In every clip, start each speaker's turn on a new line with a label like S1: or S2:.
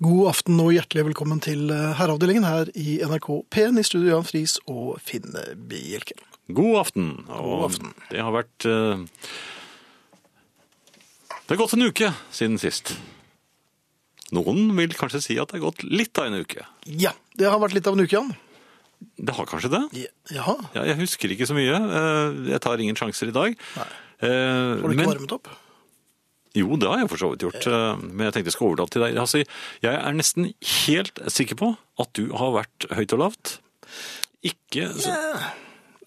S1: God aften og hjertelig velkommen til eh, Herreavdelingen her i NRK P1 i studio Jan Friis og Finn Bjelke.
S2: God aften.
S1: God aften.
S2: Det har vært eh, Det har gått en uke siden sist. Noen vil kanskje si at det har gått litt av en uke.
S1: Ja, det har vært litt av en uke, Jan.
S2: Det har kanskje det?
S1: Ja, Jaha,
S2: Ja, jeg husker ikke så mye. Eh, Jeg tar ingen sjanser i dag. Eh,
S1: har du ikke
S2: men-
S1: varmet opp?
S2: Jo, det har jeg for så vidt gjort. eh, Men jeg tenkte jeg skulle overlate til deg. Altså, jeg er nesten helt sikker på at du har vært høyt og lavt. Ikke, så,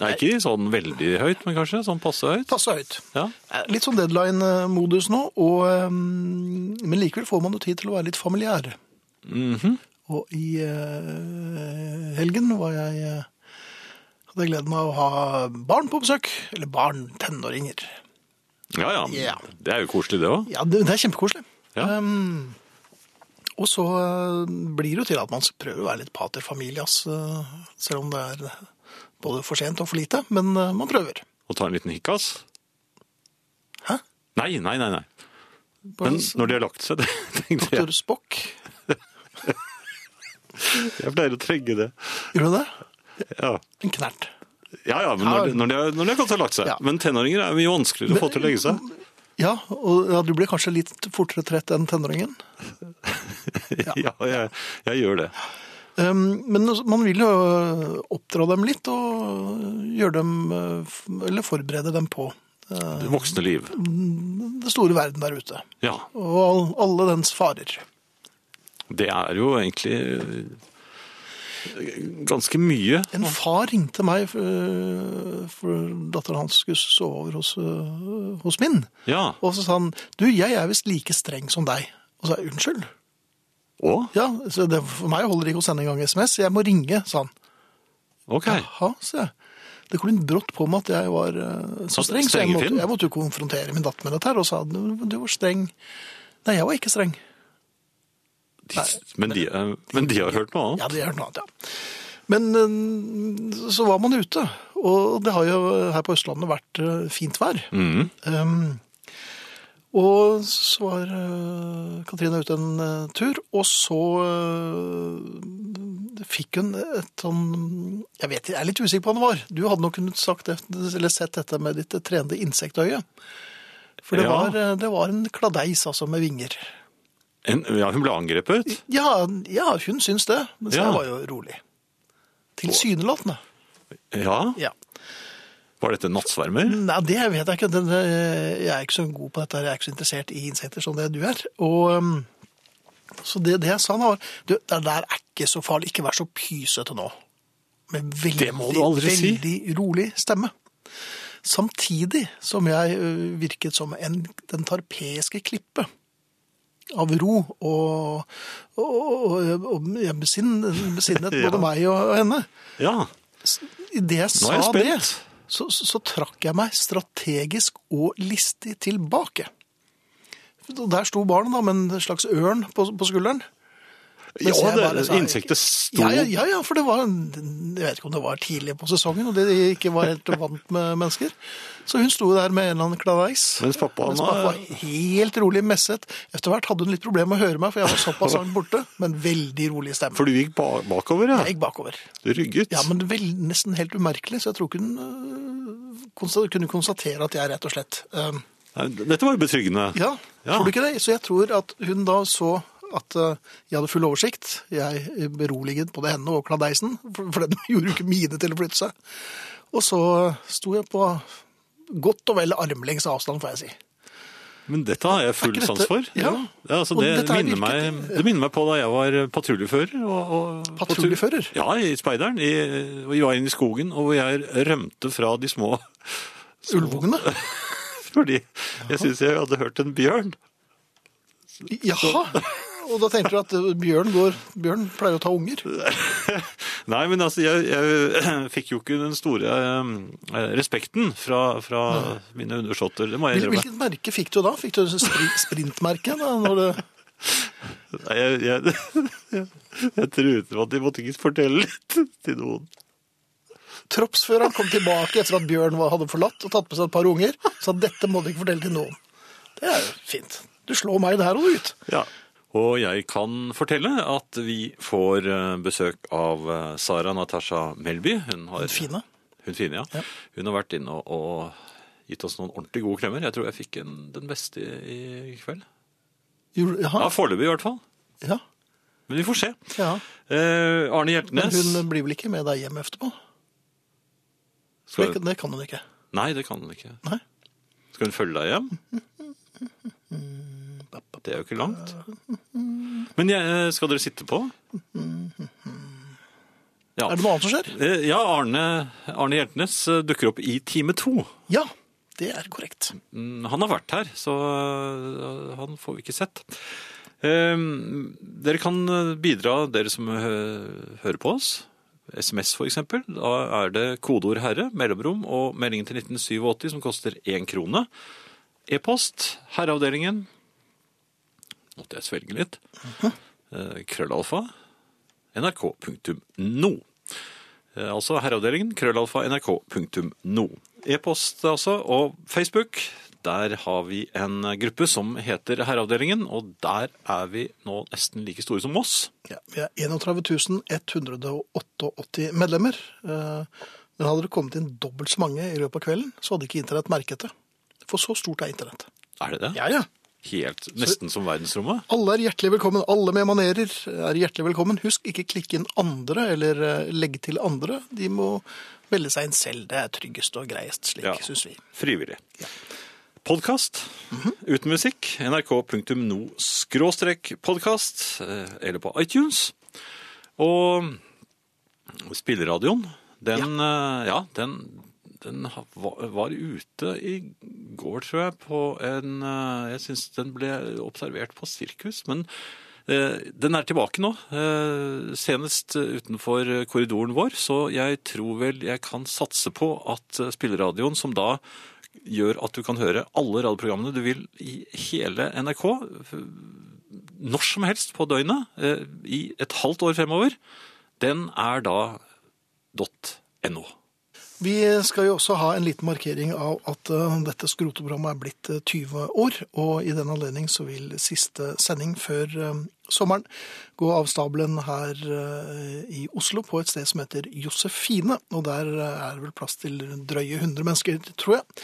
S2: nei, ikke sånn veldig høyt, men kanskje sånn passe høyt.
S1: Passe høyt.
S2: Ja.
S1: Eh, Litt sånn deadline-modus nå, og, eh, men likevel får man jo tid til å være litt familiær.
S2: Mhm.
S1: Og i eh, helgen var jeg eh, hadde jeg gleden av å ha barn på besøk. Eller barn, tenåringer.
S2: Ja, ja.
S1: Ja.
S2: Det er jo koselig, det òg.
S1: Ja, det, det er kjempekoselig.
S2: Ja.
S1: Um, og så eh, blir det jo til at man prøver å være litt pater familias, eh, selv om det er både for sent og for lite, men eh, man prøver.
S2: Å ta en liten hikkas.
S1: Hæ?
S2: Nei, nei, nei. nei.
S1: Bare
S2: Men når de har lagt seg, det tenkte jeg.
S1: Dr. Spock,
S2: Jeg pleier å trenge det.
S1: gjør du det?
S2: Ja,
S1: En knert.
S2: ja, ja men når de, når, de har, når de har gått og lagt seg.
S1: Ja.
S2: Men tenåringer er mye vanskeligere å få til å legge seg.
S1: Ja, og ja, du blir kanskje litt fortere trett enn tenåringen.
S2: Ja, jeg, jeg gjør det.
S1: Um, men altså, man vil jo eh, oppdra dem litt og gjøre dem, eh, f- eller forberede dem på eh,
S2: Det voksne liv.
S1: det store verden der ute.
S2: Ja.
S1: Og all- alle dens farer.
S2: Det er jo egentlig eh, ganske mye.
S1: En far ringte meg øh, for, for datteren hans skulle sove over hos, øh, hos min.
S2: Ja.
S1: Og så sa han du, jeg er visst like streng som deg. Og så sa jeg unnskyld.
S2: Og?
S1: Ja, så det, For meg holder det ikke å sende engang SMS. Jeg må ringe, sa han.
S2: Ok.
S1: Jaha, sa jeg. Det kom litt brått på meg at jeg var øh, så
S2: Så
S1: streng, så jeg måtte,
S2: strengefin?
S1: jeg måtte jo konfrontere min datter med dette her. Og sa du, du var streng. Nei, jeg var ikke streng.
S2: De, men, de, eh, men de har hørt noe annet.
S1: Ja, det er noe annet, ja. Men eh, så var man ute, og det har jo her på Østlandet vært eh, fint vær.
S2: Mm.
S1: Um, og så var eh, Katrine ute en eh, tur, og så eh, fikk hun et sånn Jeg vet ikke, jeg er litt usikker på hva det var. Du hadde nok kunnet sagt det, eller sett dette med ditt trenede insektøye. For det,
S2: Ja.
S1: var, eh, det var en kladeis, altså, med vinger.
S2: En, ja, hun ble angrepet.
S1: Ja, ja, hun syns det, mens
S2: Ja.
S1: jeg var jo rolig. Tilsynelatende.
S2: Ja.
S1: Ja.
S2: Var dette en nattsvermer?
S1: Nei, det vet jeg ikke. Den, eh, Jeg er ikke så god på dette, her. jeg er ikke så interessert i insekter som det du er. Og, ehm, så det, det jeg sa da var Du, det der er ikke så farlig. Ikke vær så pysete nå. Med veldig,
S2: Det må du aldri
S1: veldig
S2: si.
S1: rolig stemme. Samtidig som jeg ø, virket som en, den tarpeiske klippe av ro og, og, og, og jeg besinn- besinnet
S2: Ja.
S1: både meg og henne.
S2: Ja.
S1: Idet jeg
S2: Nå
S1: sa
S2: er jeg
S1: det,
S2: spent.
S1: så, så, så trakk jeg meg strategisk og listig tilbake. Og Der sto barnet da, med en slags ørn på, på skulderen.
S2: Ja,
S1: Mens jeg
S2: det,
S1: bare sa-
S2: insektet sto
S1: Ja, ja, ja, ja, for det var, en- jeg vet ikke om det var tidlig på sesongen, og det ikke var helt vant med mennesker. Så hun sto der med en eller annen klaveis.
S2: Mens pappa,
S1: Mens
S2: han
S1: pappa
S2: har-
S1: var helt rolig messet. Etter hvert hadde hun litt problemer med å høre meg, for jeg var såpass langt borte, men veldig rolig stemme.
S2: For du gikk ba bakover, ja.
S1: Jeg gikk bakover.
S2: Du rygget.
S1: Ja, men vel, nesten helt umerkelig, så jeg tror ikke hun øh, konsta- kunne konstatere at jeg rett og slett øh,
S2: Nei, Dette var jo betryggende.
S1: Ja,
S2: Ja.
S1: tror du ikke det? Så jeg tror at hun da så at øh, jeg hadde full oversikt. Jeg beroliget både henne og kladeisen, for, for den gjorde jo ikke mine til å flytte seg. Og så sto jeg på godt og vel armlengs avstand, får jeg si.
S2: Men dette har jeg full
S1: ikke dette-
S2: sans for.
S1: Ja.
S2: altså,
S1: Og
S2: det,
S1: dette er
S2: minner
S1: virket-
S2: meg, det minner meg på da jeg var patruljefører. Og, og,
S1: Patruljefører?
S2: Ja, i speideren. I, og jeg var inne i skogen, og hvor jeg rømte fra de små.
S1: Ulvungene?
S2: Fordi jeg syntes jeg hadde hørt en bjørn.
S1: Jaha! Og da tenkte du at øh, bjørn, går, bjørn pleier å ta unger?
S2: Nei, men altså, jeg, jeg fikk jo ikke den store eh, respekten fra, fra mine undersåtter. Det må jeg
S1: Hvil-
S2: innrømme.
S1: Hvilket merke fikk du da? Fikk du spri- sprintmerke? Da, når det...
S2: Nei, jeg, jeg, jeg truet med at de måtte ikke fortelle litt til noen.
S1: Troppsføreren kom tilbake etter at Bjørn var- hadde forlatt og tatt med seg et par unger. Sa dette må du ikke fortelle til noen. Det er jo fint. Du slår meg der og ut.
S2: Ja. Og jeg kan fortelle at vi får eh, besøk av eh, Sara Natasha Melby. Hun har,
S1: Hun fine.
S2: Hun fine, ja.
S1: Ja.
S2: Hun har vært inne og, og gitt oss noen ordentlig gode klemmer. Jeg tror jeg fikk en, den beste i, i kveld.
S1: Gjorde-
S2: Ja,
S1: Jaha.
S2: foreløpig i hvert fall.
S1: Ja.
S2: Men vi får se.
S1: ja.
S2: Eh, Arne
S1: Men
S2: Hjeltnes
S1: hun blir vel ikke med deg hjem etterpå?
S2: skal,
S1: Det, det kan hun ikke.
S2: Nei, det kan hun ikke.
S1: Nei.
S2: Skal hun følge deg hjem? Det er jo ikke langt. Men jeg, eh, skal dere sitte på? Ja.
S1: Er det noe annet som skjer?
S2: Eh, Ja, Arne, Arne Hjeltnes eh, dukker opp i time to.
S1: Ja, det er korrekt.
S2: Mm, Han har vært her, så eh, han får vi ikke sett. Eh, Dere kan eh, bidra, dere som hø- hører på oss. SMS for eksempel. Da er det kodeord herre, mellomrom og meldingen til 1987 som koster én krone. E-post, herreavdelingen. Måtte jeg svelge litt. Eh, Krøllalfa. NRK.no. Eh, Altså herreavdelingen, krøllalfa nrk.no. E-post altså, og Facebook. Der har vi en gruppe som heter Herreavdelingen, og der er vi nå nesten like store som Moss.
S1: Ja, vi er 31 188 medlemmer. Eh, Men hadde det kommet inn dobbelt så mange i løpet av kvelden, så hadde ikke internett merket det. For så stort er internett.
S2: Er det det?
S1: Ja, ja.
S2: Helt, nesten som verdensrommet?
S1: Alle er hjertelig velkommen. Alle med manerer er hjertelig velkommen. Husk, ikke klikke inn andre eller eh, legge til andre. De må melde seg inn selv. Det er tryggest og greiest, slik
S2: Ja.
S1: synes vi.
S2: Frivillig. Podkast uten musikk. nrk.no-podkast, eh, eller på iTunes. Og spilleradioen, den, eh, ja, den, den ha- var var ute i går, tror jeg, på en eh, Jeg syns den ble observert på sirkus, men eh, den er tilbake nå. eh, Senest utenfor korridoren vår, så jeg tror vel jeg kan satse på at eh, spilleradioen, som da gjør at du kan høre alle radioprogrammene du vil i hele NRK, når som helst på døgnet, eh, i et halvt år fremover, den er da .no.
S1: Vi skal jo også ha en liten markering av at eh, dette skroteprogrammet er blitt eh, 20 år, og i den anledning så vil siste sending før eh, sommeren gå av stabelen her eh, i Oslo på et sted som heter Josefine, og der eh, er det vel plass til drøye 100 mennesker, tror jeg.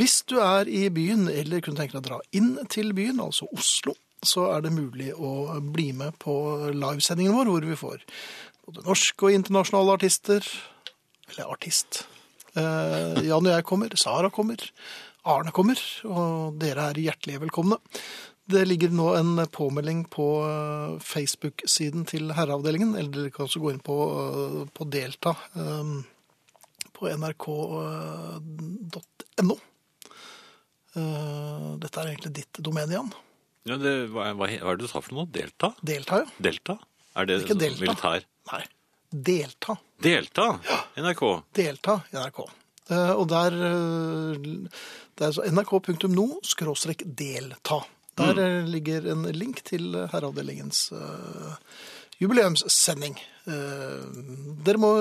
S1: Hvis du er i byen, eller kunne tenke deg å dra inn til byen, altså Oslo, så er det mulig å bli med på livesendingen vår, hvor vi får både norske og internasjonale artister, eller artist. Eh, Jan og jeg kommer, Sara kommer, Arne kommer, og dere er hjertelig velkomne. Det ligger nå en påmelding på eh, Facebook-siden til Herreavdelingen, eller dere kan også gå inn på, eh, på Delta eh, på eh, nrk.no. Eh, Dette er egentlig ditt domene, Jan.
S2: Ja, det, hva, hva, hva er det du sa for noe? Delta?
S1: Delta, ja?
S2: Delta? Er det
S1: Ikke Delta.
S2: militær?
S1: Nei. Delta.
S2: Delta! NRK.
S1: delta i NRK. Eh, Og der, eh, det er altså nrk.no skråstrek delta. Der eh, ligger en link til herreavdelingens eh, jubileumssending. Eh, dere må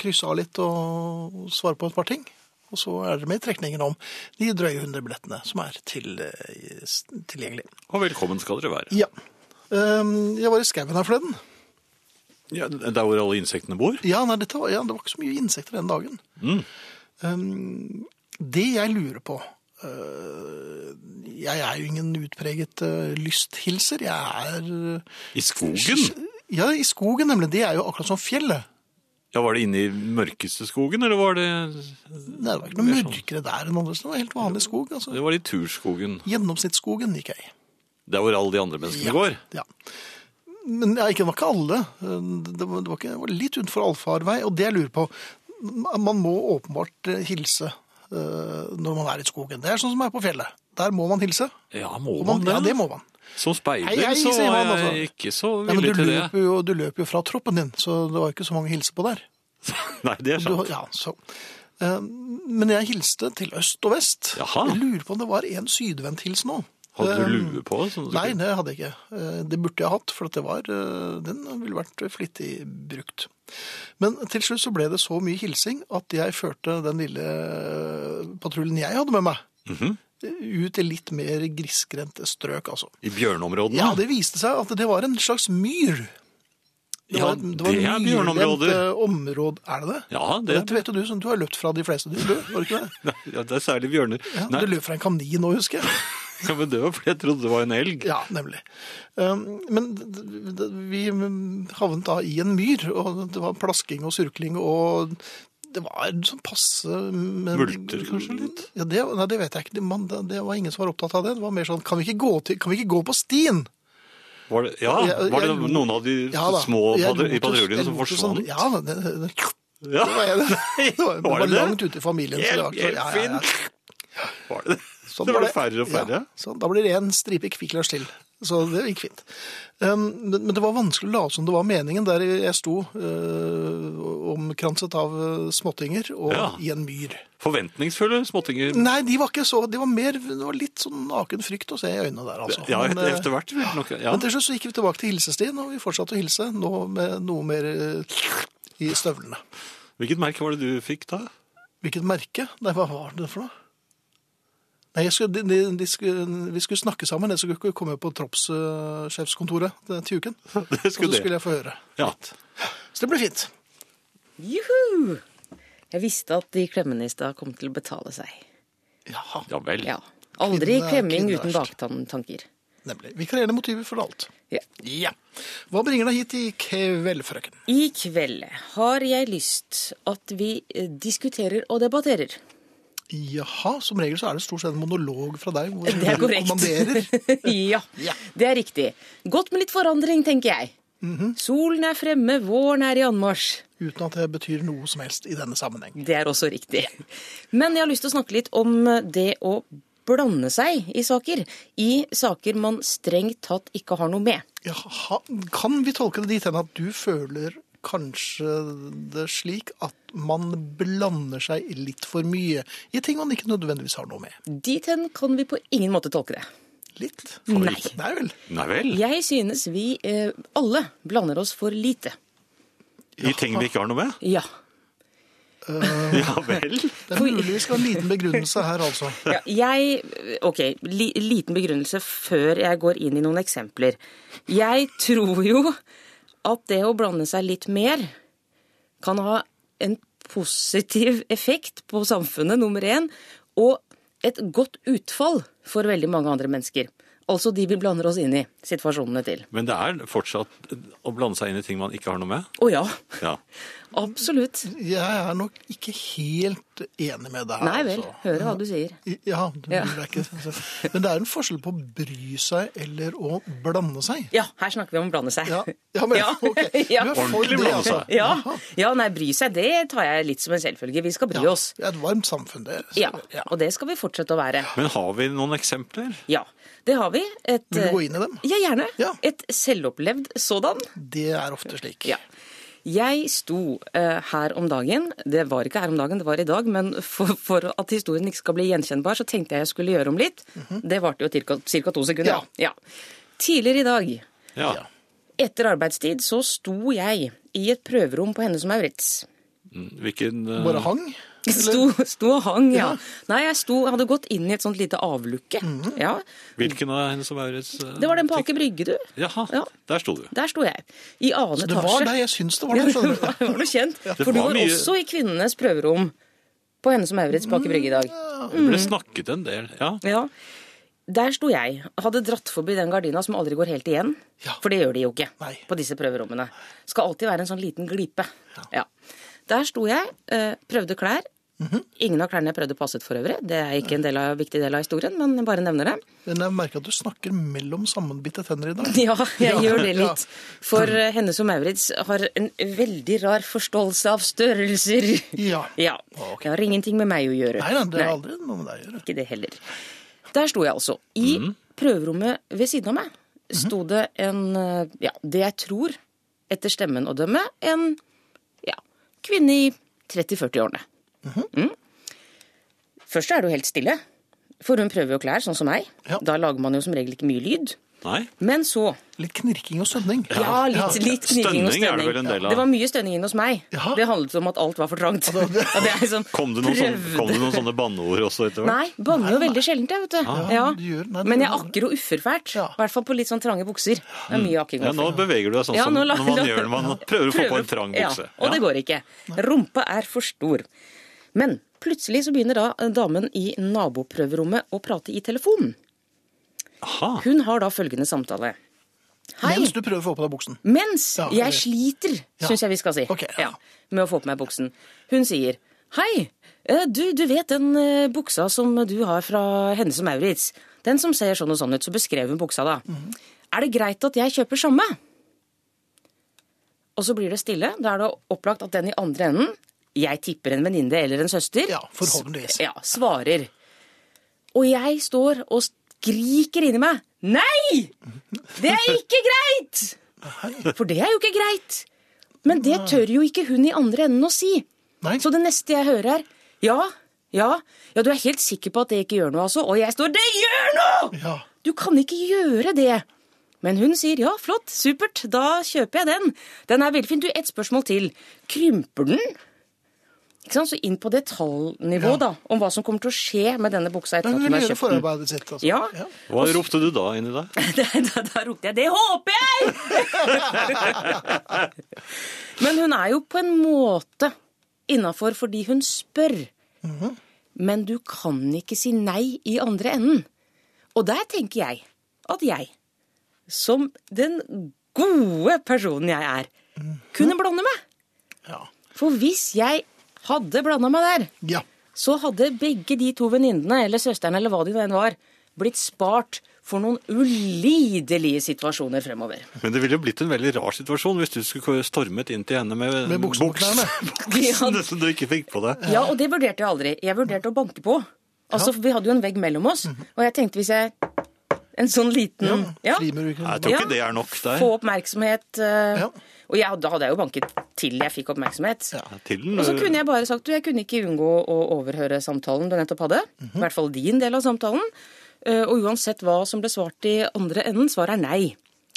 S1: krysse av litt og svare på et par ting. Og så er dere med i trekningen om de drøye 100 billettene som er til, eh, s- tilgjengelig.
S2: Og velkommen skal dere være.
S1: Ja. Eh, Jeg var i skauen her forleden.
S2: Ja, der hvor alle insektene bor?
S1: Ja, nei, dette var, ja, det var ikke så mye insekter den dagen. Um, det jeg lurer på øh, Jeg er jo ingen utpreget øh, lysthilser. Jeg er øh,
S2: I skogen?
S1: Ja, i skogen, nemlig. Det er jo akkurat som fjellet.
S2: Ja, Var det inne i mørkeste skogen, eller var det,
S1: Nei, det var ikke noe mørkere der enn andre steder. Det var helt vanlig skog. altså.
S2: det var det i turskogen?
S1: Gjennomsnittsskogen gikk jeg i.
S2: Der hvor alle de andre menneskene går?
S1: Ja. Men ja, ikke, det var ikke alle. Det var, det var, ikke, det var litt utenfor allfarvei. Og det jeg lurer på Man må åpenbart eh, hilse eh, når man er i skogen. Det er sånn som er på fjellet. Der må man hilse.
S2: Ja, må
S1: Og
S2: man
S1: man,
S2: det?
S1: ja, det må man.
S2: Som speider
S1: Hei, hei,
S2: så
S1: sier
S2: var
S1: man,
S2: jeg
S1: altså.
S2: ikke så
S1: Ja, men
S2: villig
S1: du
S2: til det.
S1: løper, jo, du løper jo fra troppen din, så det var jo ikke så mange å hilse på der.
S2: Nei, det er
S1: Du,
S2: sant.
S1: ja, så. Eh, Men jeg hilste til øst og vest.
S2: Jaha.
S1: Jeg lurer på om det var en sydvendt hils nå.
S2: Hadde
S1: Eh,
S2: du lue på? Sånn, at du
S1: Nei,
S2: kunne-
S1: det hadde jeg ikke. Eh, Det burde jeg hatt, for at det var, eh, den ville vært flittig brukt. Men til slutt så ble det
S2: Mhm.
S1: så mye hilsing at jeg førte den lille eh, patruljen jeg hadde med meg, ut i litt mer grisgrendte strøk, altså.
S2: I bjørneområdene?
S1: Ja, det viste seg at det var en slags myr.
S2: Ja,
S1: var- var
S2: det er bjørneområder.
S1: myrlendt, eh, Område. Er det det?
S2: Ja, det-
S1: Dette vet jo du, som du har løpt fra de fleste. Du løp, var det ikke det?
S2: Nei, ja, det er særlig bjørner.
S1: Ja,
S2: Nei,
S1: Du løp fra en kanin nå, husker jeg.
S2: ja, men det var fordi jeg trodde det var en elg.
S1: Ja, nemlig. Um, Men d- d- d- vi havnet da i en myr, og det var plasking og surkling og det var sånn passe men,
S2: Multer kanskje litt?
S1: Ja, det, nei, det vet jeg ikke. Man, det, det var ingen som var opptatt av det. Det var mer sånn Kan vi ikke gå, til, kan vi ikke gå på stien?
S2: Var det, ja,
S1: Jeg-
S2: var det
S1: jeg lo-
S2: noen av de
S1: Ja da.
S2: små
S1: Jeg
S2: padru- i
S1: lot oss- jeg
S2: patruljen som
S1: lot oss
S2: forsvant?
S1: sånn- Ja, det, det, det,
S2: Ja,
S1: det var jeg. Det var, det
S2: Var
S1: var
S2: det det?
S1: langt ute i familien. så det var
S2: Hjelp,
S1: ikke- ja,
S2: hjelp,
S1: ja, ja.
S2: Finn! Var det det?
S1: Sånn
S2: det var
S1: var
S2: det færre og
S1: Ja,
S2: færre.
S1: sånn, da blir det en stripe Kvikk Lunsj til. Så det gikk fint. Um, men, men det var vanskelig å late som det var meningen der jeg sto øh, omkranset av øh, småttinger og
S2: Ja.
S1: i en myr.
S2: Forventningsfulle småttinger.
S1: Nei, de var ikke så Det var mer, det var litt sånn naken frykt å se i øynene der, altså.
S2: Ja,
S1: men,
S2: et-
S1: øh,
S2: etter hvert. vil nok- Ja.
S1: men til slutt så gikk vi tilbake til hilsestien, og vi fortsatte å hilse. Nå med noe mer øh, i støvlene.
S2: Hvilket merke var det du fikk da?
S1: Hvilket merke? Nei, hva var det for noe? Nei, jeg skulle, de, de, de skulle, vi skulle snakke sammen. Jeg skulle ikke komme på troppssjefskontoret til uken.
S2: Det
S1: Og så
S2: skulle det.
S1: skulle jeg få høre.
S2: Ja.
S1: Så det ble fint.
S3: Juhu! Jeg visste at de klemmene i stad kom til å betale seg.
S1: Ja,
S2: ja vel.
S3: Ja. Aldri
S1: Kvinne er
S3: klemming
S1: kvinne
S3: uten
S1: verst.
S3: baktanker.
S1: nemlig. Vikarierende motiver for alt.
S3: Ja.
S1: Ja. Hva bringer deg hit i kveld, frøken?
S3: I kveld har jeg lyst at vi eh, diskuterer og debatterer.
S1: Jaha, som regel så er det stort sett en monolog fra deg. Hvor
S3: Det er
S1: du
S3: korrekt.
S1: kommanderer.
S3: ja,
S1: Ja.
S3: det er riktig. Godt med litt forandring, tenker jeg.
S1: Mhm.
S3: Solen er fremme, våren er i anmarsj.
S1: Uten at det betyr noe som helst i denne sammenheng.
S3: Det er også riktig. Men jeg har lyst til å snakke litt om det å blande seg i saker. I saker man strengt tatt ikke har noe med.
S1: Jaha, kan vi tolke det dit hen at du føler kanskje det slik at man blander seg litt for mye i ting man ikke nødvendigvis har noe med?
S3: Dit hen kan vi på ingen måte tolke det.
S1: Litt?
S3: Nei.
S1: Nei vel.
S2: Nei vel.
S3: Jeg synes vi eh, alle blander oss for lite.
S2: I ting vi ikke har noe med?
S3: Ja.
S2: Ja vel.
S1: Det er mulig vi skal ha en liten begrunnelse her, altså.
S3: ja jeg Ok, li, liten begrunnelse før jeg går inn i noen eksempler. Jeg tror jo at det å blande seg litt mer kan ha en positiv effekt på samfunnet, nummer én, og et godt utfall for veldig mange andre mennesker. Altså de vi blander oss inn i situasjonene til.
S2: Men det er fortsatt å blande seg inn i ting man ikke har noe med?
S3: Å ja.
S2: Ja.
S3: Absolutt.
S1: Jeg er nok ikke helt enig med deg. her,
S3: Nei vel.
S1: altså.
S3: Hører hva du sier.
S1: Ja, du
S3: Ja.
S1: burde ikke altså. Men det er en forskjell på å bry seg eller å blande seg.
S3: Ja, her snakker vi om å blande seg.
S1: Ja, ja men ok. Du
S3: ja.
S1: er for
S2: Ordentlig
S1: det,
S2: blande
S1: altså.
S2: seg.
S3: ja. ja, nei, bry seg, det tar jeg litt som en selvfølge. Vi skal bry
S1: Ja,
S3: oss.
S1: det er et varmt samfunn, det.
S3: Ja, og det skal vi fortsette å være.
S2: Men har vi noen eksempler?
S3: Ja, det har vi. Et, eh,
S1: Vil du gå inn i dem?
S3: Ja, gjerne.
S1: Ja.
S3: Et selvopplevd sådan.
S1: Det er ofte slik.
S3: Ja. Jeg sto eh, her om dagen, det var ikke her om dagen, det var i dag, men for, for at historien ikke skal bli gjenkjennbar, så tenkte jeg jeg skulle gjøre om litt. Det varte jo ca. to sekunder.
S1: Mhm. Ja.
S3: ja. Tidligere i dag
S2: Ja.
S3: Etter arbeidstid så sto jeg i et prøverom på Hennes og Maurits.
S2: Hvilken eh,
S1: Bare hang?
S3: Sto, sto og hang, ja. Nei, jeg sto, jeg hadde gått inn i et sånt lite avlukke.
S1: Mhm.
S3: ja.
S2: Hvilken av henne som er et eh,
S3: Det var den på Aker Brygge, du.
S2: Jaha,
S3: Ja.
S2: der sto du.
S3: Der sto jeg. I annen
S1: Det
S3: etasje.
S1: var deg jeg syns det var
S3: Ja,
S1: det,
S3: det
S1: skjønner
S3: var,
S1: du.
S3: det var noe kjent. For du
S2: var
S3: var
S2: mye-
S3: også i kvinnenes prøverom på Hennes og Maurits på Aker Brygge i dag. Mm.
S2: Det ble snakket en del. Ja.
S3: Ja. Der sto jeg. Hadde dratt forbi den gardina som aldri går helt igjen.
S1: Ja.
S3: For det gjør de jo ikke
S1: Nei.
S3: på disse prøverommene. Skal alltid være en sånn liten glipe. Ja. Der sto jeg, eh, prøvde klær.
S1: Mhm.
S3: Ingen av klærne jeg prøvde passet for øvrig. Det er ikke en del av, viktig del av historien, men jeg bare nevner det.
S1: Men jeg merker at du snakker mellom sammenbitte tenner i dag.
S3: Ja, jeg
S1: Ja,
S3: gjør det
S1: ja.
S3: litt. For eh, Hennes og Maurits har en veldig rar forståelse av størrelser.
S1: Ja.
S3: Ja.
S1: Ok.
S3: Det har ingenting med meg å gjøre.
S1: Nei, nei, det har aldri noe med deg å gjøre.
S3: ikke det heller. Der sto jeg altså. I
S2: Mm.
S3: prøverommet ved siden av meg
S2: Mhm.
S3: sto det en eh, Ja, det jeg tror, etter stemmen å dømme, en ja, kvinne i 30-40-årene.
S2: Mhm.
S3: Mm. Først er det jo helt stille, for hun prøver jo klær, sånn som meg.
S1: Ja.
S3: Da lager man jo som regel ikke mye lyd.
S2: Nei.
S3: Men så
S1: Litt knirking og sønning.
S3: Ja, litt, litt knirking
S2: Stønning
S3: og stønning.
S2: er det vel en del av.
S3: Det var mye stønning inne hos meg.
S1: Jaha.
S3: Det handlet om at alt var for trangt. Og det er liksom,
S2: Kom det sånn noen sånne,
S3: prøvde-
S2: kom det noen sånne banneord også etter hvert?
S3: Nei, banner jo veldig sjeldent, jeg, vet du. Ja.
S1: du gjør- nei, du
S3: Men
S1: gjør
S3: jeg
S1: det.
S3: akker og uffer fælt.
S1: Ja.
S3: I hvert fall på litt sånn trange bukser. Det er mye akking
S2: Ja,
S3: og
S2: nå
S3: offing.
S2: beveger du deg sånn
S3: Ja,
S2: som
S3: nå la-
S2: når man
S3: la-
S2: gjør det. Man prøver å få på en trang bukse.
S3: Ja, og det går ikke. Rumpa er for stor. Men plutselig så begynner da eh, damen i naboprøverommet å prate i telefonen.
S2: Aha.
S3: Hun har da følgende samtale. Hei.
S1: Mens du prøver å få på deg buksen.
S3: Mens
S1: Ja, eller-
S3: jeg sliter,
S1: Ja.
S3: syns jeg vi skal si.
S1: Ok, ja.
S3: Med å få på meg buksen. Hun sier Hei, eh, du, du vet den eh, buksa som du har fra Hennes og Maurits? Den som ser sånn og sånn ut. Så beskrev hun buksa, da.
S1: Mhm.
S3: Er det greit at jeg kjøper samme? Og så blir det stille. Da er det opplagt at den i andre enden, jeg tipper en venninne eller en søster,
S1: Ja, forhåpentligvis.
S3: ja, svarer. Og jeg står og skriker inni meg Nei!
S1: Mhm.
S3: Det er ikke greit! For det er jo ikke greit. Men det tør jo ikke hun i andre enden å si.
S1: Nei.
S3: Så det neste jeg hører er Ja, ja, ja, du er helt sikker på at det ikke gjør noe, altså? Og jeg står Det gjør noe!
S1: Ja.
S3: Du kan ikke gjøre det. Men hun sier ja, flott, supert, da kjøper jeg den. Den er veldig fin. Du, et spørsmål til. Krymper den? Ikke sant? Så inn på detaljnivå,
S1: Ja.
S3: da, om hva som kommer til å skje med denne buksa etter
S1: Men
S3: at
S1: hun vil
S3: hun har
S1: gjøre
S3: kjøpt den.
S1: forarbeidet sitt. Altså.
S3: Ja.
S2: Hva ropte du da inni deg?
S3: Da, da, da ropte jeg 'det håper jeg'! Men hun er jo på en måte innafor fordi hun spør. Men du kan ikke si nei i andre enden. Og der tenker jeg at jeg, som den gode personen jeg er, kunne blande meg.
S1: Ja.
S3: For hvis jeg hadde blanda meg der,
S1: ja.
S3: så hadde begge de to venninnene, eller søsteren, eller hva de nå enn var, blitt spart for noen ulidelige situasjoner fremover.
S2: Men det ville jo blitt en veldig rar situasjon hvis du skulle stormet inn til henne med,
S1: Med buksen på knærne.
S2: buksen som du ikke fikk på deg.
S3: Ja, og det vurderte jeg aldri. Jeg vurderte å banke på. Altså, for Vi hadde jo en vegg mellom oss, og jeg tenkte hvis jeg En sånn liten ja,
S1: Frimer du ikke?
S2: Nei, Jeg tror ikke det er nok der.
S3: Få oppmerksomhet. eh,
S1: Ja.
S3: Og jeg, da hadde jeg jo banket til jeg fikk oppmerksomhet.
S2: Til den,
S3: Og så
S2: øh,
S3: kunne jeg bare sagt du, jeg kunne ikke unngå å overhøre samtalen du nettopp hadde. I hvert fall din del av samtalen. Eh, Og uansett hva som ble svart i andre enden, svaret er nei.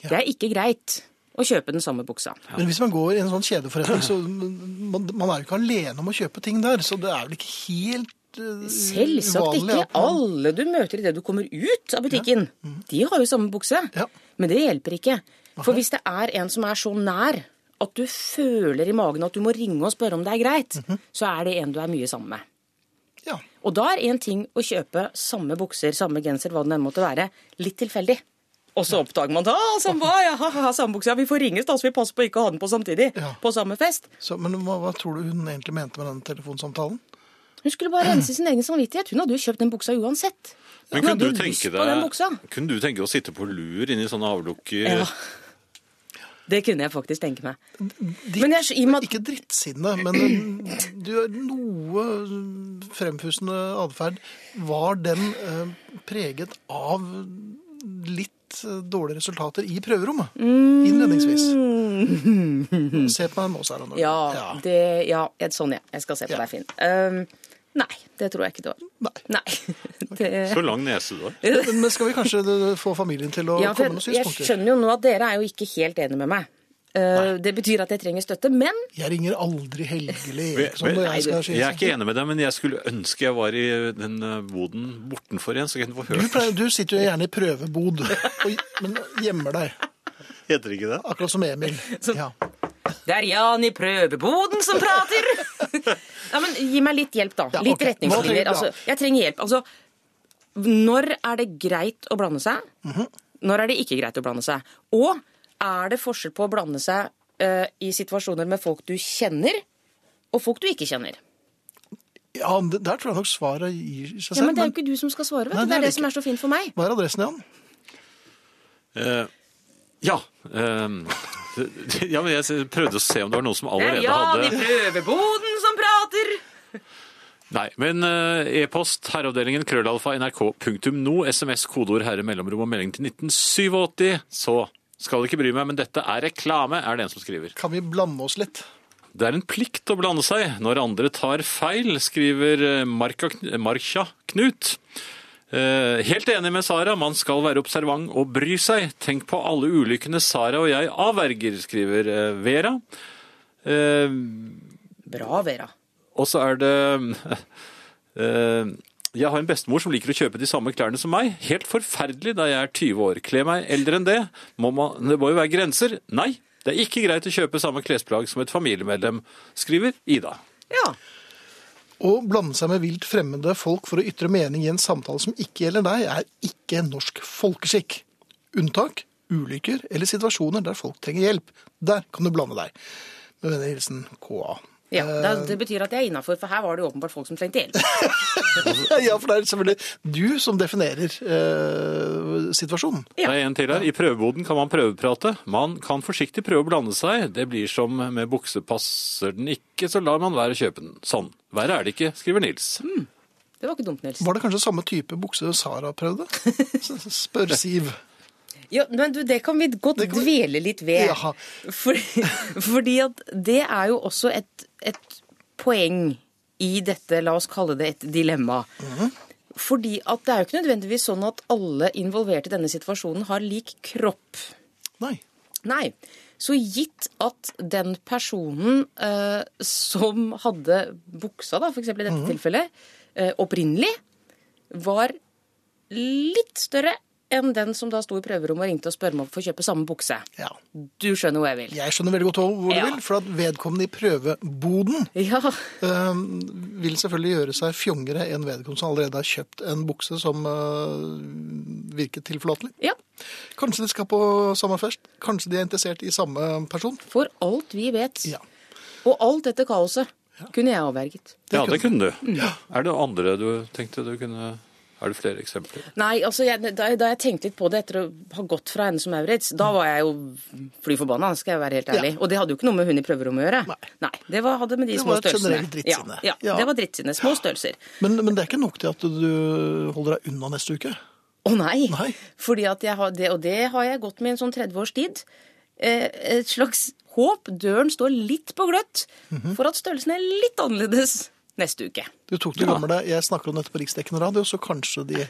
S3: Det er ikke greit å kjøpe den samme buksa.
S1: Men hvis man går i en sånn kjedeforretning, så man, man er jo ikke alene om å kjøpe ting der, så det er vel ikke helt uh,
S3: Selvsagt
S1: uvanlig
S3: ikke.
S1: at man-
S3: Alle du møter idet du kommer ut av butikken, de har jo samme bukse.
S1: Ja.
S3: Men det hjelper ikke. For hvis det er en som er så nær at du føler i magen at du må ringe og spørre om det er greit, så er det en du er mye sammen med.
S1: Ja.
S3: Og da er én ting å kjøpe samme bukser, samme genser, hva det enn måtte være, litt tilfeldig. Og så oppdager man da «Ah, samme, ja, ha, ha, ha, samme buksa, vi får ringes da, så vi passer på ikke å ha den på samtidig.
S1: Ja.
S3: På samme fest.
S1: Så, men hva, hva tror du hun egentlig mente med den telefonsamtalen?
S3: Hun skulle bare rense sin egen samvittighet. Hun hadde jo kjøpt den buksa uansett.
S2: Men
S3: Hun
S2: kunne
S3: hadde
S2: du,
S3: jo lyst
S2: tenke
S3: på den buksa.
S2: deg, kunne du tenke deg å sitte på lur inni sånne avlukker?
S3: Ja. Det kunne jeg faktisk tenke meg.
S1: Dritt,
S3: Men jeg er så- i og med at-
S1: Ikke drittsinne, men en- du har noe fremfusende atferd. Var den eh, preget av litt eh, dårlige resultater i prøverommet?
S3: Mm.
S1: Innledningsvis. Se på meg nå, Sara. Nordahl.
S3: Ja, det, ja et- sånn ja. Jeg skal se på
S1: Ja.
S3: deg, Finn. Um, nei, det tror jeg ikke det var.
S1: Nei.
S3: Nei. Det,
S2: Så lang nese du har.
S1: Men men skal vi kanskje eh, få familien til å
S3: Ja, for
S1: komme med
S3: jeg
S1: synspunkter?
S3: skjønner jo nå at dere er jo ikke helt enige med meg. Eh, Det betyr at jeg trenger støtte, men
S1: Jeg ringer aldri Helgelig
S2: Vel-
S1: Eriksson når
S2: vel-
S1: jeg skal
S2: Jeg er
S1: skilse.
S2: ikke enig med deg, men jeg skulle ønske jeg var i den eh, boden bortenfor igjen, så jeg kunne få
S1: Du,
S2: hørt.
S1: pleier, du sitter jo gjerne i prøvebod, og, men gjemmer deg.
S2: Heter det ikke det?
S1: Akkurat som Emil. Ja.
S3: Det er Jan i prøveboden som prater! ja, men Gi meg litt hjelp, da.
S1: Ja, ok.
S3: litt
S1: Hva trenger
S3: retningslinjer.
S1: du da?
S3: Altså, jeg trenger hjelp. Altså, når er det greit å blande seg?
S1: Mhm.
S3: Når er det ikke greit å blande seg? Og er det forskjell på å blande seg eh, i situasjoner med folk du kjenner, og folk du ikke kjenner?
S1: ja, det- Der tror jeg nok svaret gir seg
S3: Ja,
S1: selv.
S3: men Det er jo
S1: Men
S3: ikke du som skal svare, vet du.
S1: Nei,
S3: Det er det
S1: ikke.
S3: som er så fint for meg.
S1: hva er adressen igjen?
S2: Eh, ja. eh, ja, men jeg prøvde å se om det var noen som allerede hadde
S3: prøveboden som prater!
S2: Nei, men eh, e-post herreavdelingen krøllalfa nrk.no, sms, kodeord herre mellomrom og melding til 1987, så skal ikke bry meg, men dette er reklame, er det en som skriver.
S1: Kan vi blande oss litt?
S2: Det er en plikt å blande seg når andre tar feil, skriver eh, Marka, Markja Knut. Eh, Helt enig med Sara, man skal være observant og bry seg. Tenk på alle ulykkene Sara og jeg avverger, skriver eh, Vera. Eh,
S3: Bra, Vera.
S2: Og så er det eh, Jeg har en bestemor som liker å kjøpe de samme klærne som meg. Helt forferdelig da jeg er 20 år. Kle meg eldre enn det. Må man, det må jo være grenser. Nei, det er ikke greit å kjøpe samme klesplagg som et familiemedlem, skriver Ida.
S3: Ja.
S1: Å blande seg med vilt fremmede folk for å ytre mening i en samtale som ikke gjelder deg, er ikke norsk folkeskikk. Unntak ulykker eller situasjoner der folk trenger hjelp. Der kan du blande deg. Med vennlig hilsen KA.
S3: ja.
S1: Eh.
S3: da- Det betyr at jeg er innafor, for her var det jo åpenbart folk som trengte hjelp.
S1: Ja, for det er selvfølgelig du som definerer eh, situasjonen.
S3: Ja.
S2: Det er en til her. I prøveboden kan man prøveprate. Man kan forsiktig prøve å blande seg. Det blir som med bukse passer den ikke, så lar man være å kjøpe den. Sånn. Verre er det ikke, skriver Nils.
S3: Det var ikke dumt, Nils.
S1: Var det kanskje samme type bukse Sara prøvde? S- Spør Siv.
S3: Ja, men du, det kan vi godt
S1: Det kan vi-
S3: dvele litt ved.
S1: Jaha.
S3: Fordi, fordi at det er jo også et, et poeng i dette, la oss kalle det et dilemma.
S1: Mhm.
S3: Fordi at det er jo ikke nødvendigvis sånn at alle involverte i denne situasjonen har lik kropp.
S1: Nei.
S3: Nei. Så gitt at den personen eh, som hadde buksa, da, for eksempel i dette tilfellet, eh, opprinnelig var litt større enn den som da sto i prøverommet og ringte og spør meg om å få kjøpe samme bukse.
S1: Ja.
S3: Du skjønner hvor jeg vil.
S1: Jeg skjønner veldig godt hvor du
S3: Ja.
S1: vil, for at vedkommende i prøveboden
S3: Ja,
S1: eh, vil selvfølgelig gjøre seg fjongere enn vedkommende som allerede har kjøpt en bukse som eh, virket tilforlatelig.
S3: ja.
S1: Kanskje de skal på samme fest? Kanskje de er interessert i samme person?
S3: For alt vi vet,
S1: Ja.
S3: og alt dette kaoset, kunne jeg avverget.
S2: Ja, det kunne du. Er det andre du tenkte du kunne Er det flere eksempler?
S3: Nei, altså, jeg, da, da jeg tenkte litt på det etter å ha gått fra henne som Maurits, da var jeg jo fly forbanna, skal jeg være helt ærlig. Og det hadde jo ikke noe med hun i prøverommet å gjøre.
S1: Nei.
S3: det var, hadde med de
S1: Det
S3: små
S1: var et
S3: størrelsene.
S1: generelt drittsinne.
S3: Ja, ja,
S1: Ja.
S3: det var drittsinne. Små størrelser.
S1: Men, men det er ikke nok til at du holder deg unna neste uke?
S3: Å nei!
S1: Nei.
S3: Fordi at jeg har det, og det har jeg gått med i en sånn 30 års tid. Eh, et slags håp. Døren står litt på gløtt
S1: Mhm.
S3: for at størrelsen er litt annerledes neste uke.
S1: Du tok det gamle, jeg snakker om dette på riksdekkende radio, så kanskje de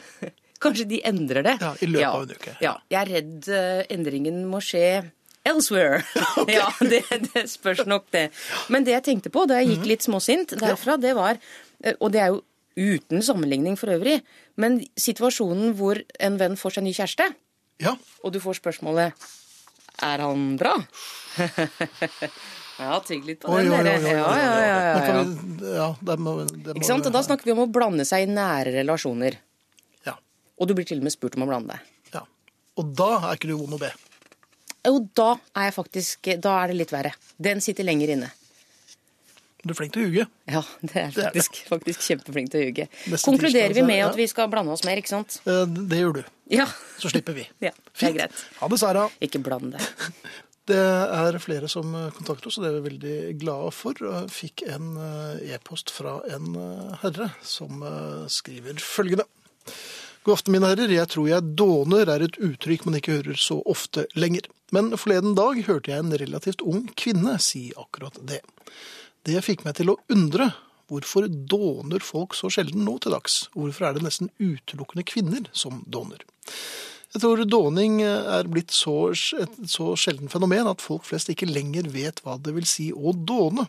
S3: Kanskje de endrer det.
S1: Ja, i løpet av en uke.
S3: Ja, Jeg er redd eh, endringen må skje elsewhere. Ja, det, det spørs nok det. Men det jeg tenkte på da jeg
S1: Mhm.
S3: gikk litt småsint derfra, det var eh, Og det er jo uten sammenligning for øvrig, men situasjonen hvor en venn får seg ny kjæreste,
S1: Ja,
S3: og du får spørsmålet Er han bra? ja, tygg litt på
S1: Oi,
S3: den,
S1: oi, oi,
S3: dere.
S1: oi, oi,
S3: Ja,
S1: oi.
S3: ja,
S1: Nå
S3: ja, ja, ja.
S1: kan vi- ja, det må, det må,
S3: Ikke sant? Og da snakker vi om å blande seg i nære relasjoner.
S1: ja,
S3: Og du blir til og med spurt om å blande deg.
S1: ja. Og da er ikke du vond å be.
S3: Jo, da er jeg faktisk Da er det litt verre. Den sitter lenger inne.
S1: Du er flink til å ljuge.
S3: Ja, det er
S1: Det er det.
S3: faktisk, faktisk kjempeflink til å ljuge.
S1: Neste
S3: Konkluderer
S1: tirsdag,
S3: vi
S1: så-
S3: med
S1: ja.
S3: at vi skal blande oss mer, ikke sant?
S1: Eh, Det gjør du.
S3: Ja.
S1: Så slipper vi.
S3: Ja, det er
S1: Fint.
S3: greit.
S1: Ha det, Sara.
S3: Ikke bland det.
S1: Det er flere som eh, kontakter oss, og det er vi veldig glade for. Jeg Fikk en eh, e-post fra en eh, herre som eh, skriver følgende. God aften, mine herrer. Jeg tror jeg dåner er et uttrykk man ikke hører så ofte lenger. Men forleden dag hørte jeg en relativt ung kvinne si akkurat det. Det fikk meg til å undre. Hvorfor dåner folk så sjelden nå til dags? Hvorfor er det nesten utelukkende kvinner som dåner? Jeg tror dåning eh, er blitt så, et så sjelden fenomen at folk flest ikke lenger vet hva det vil si å dåne.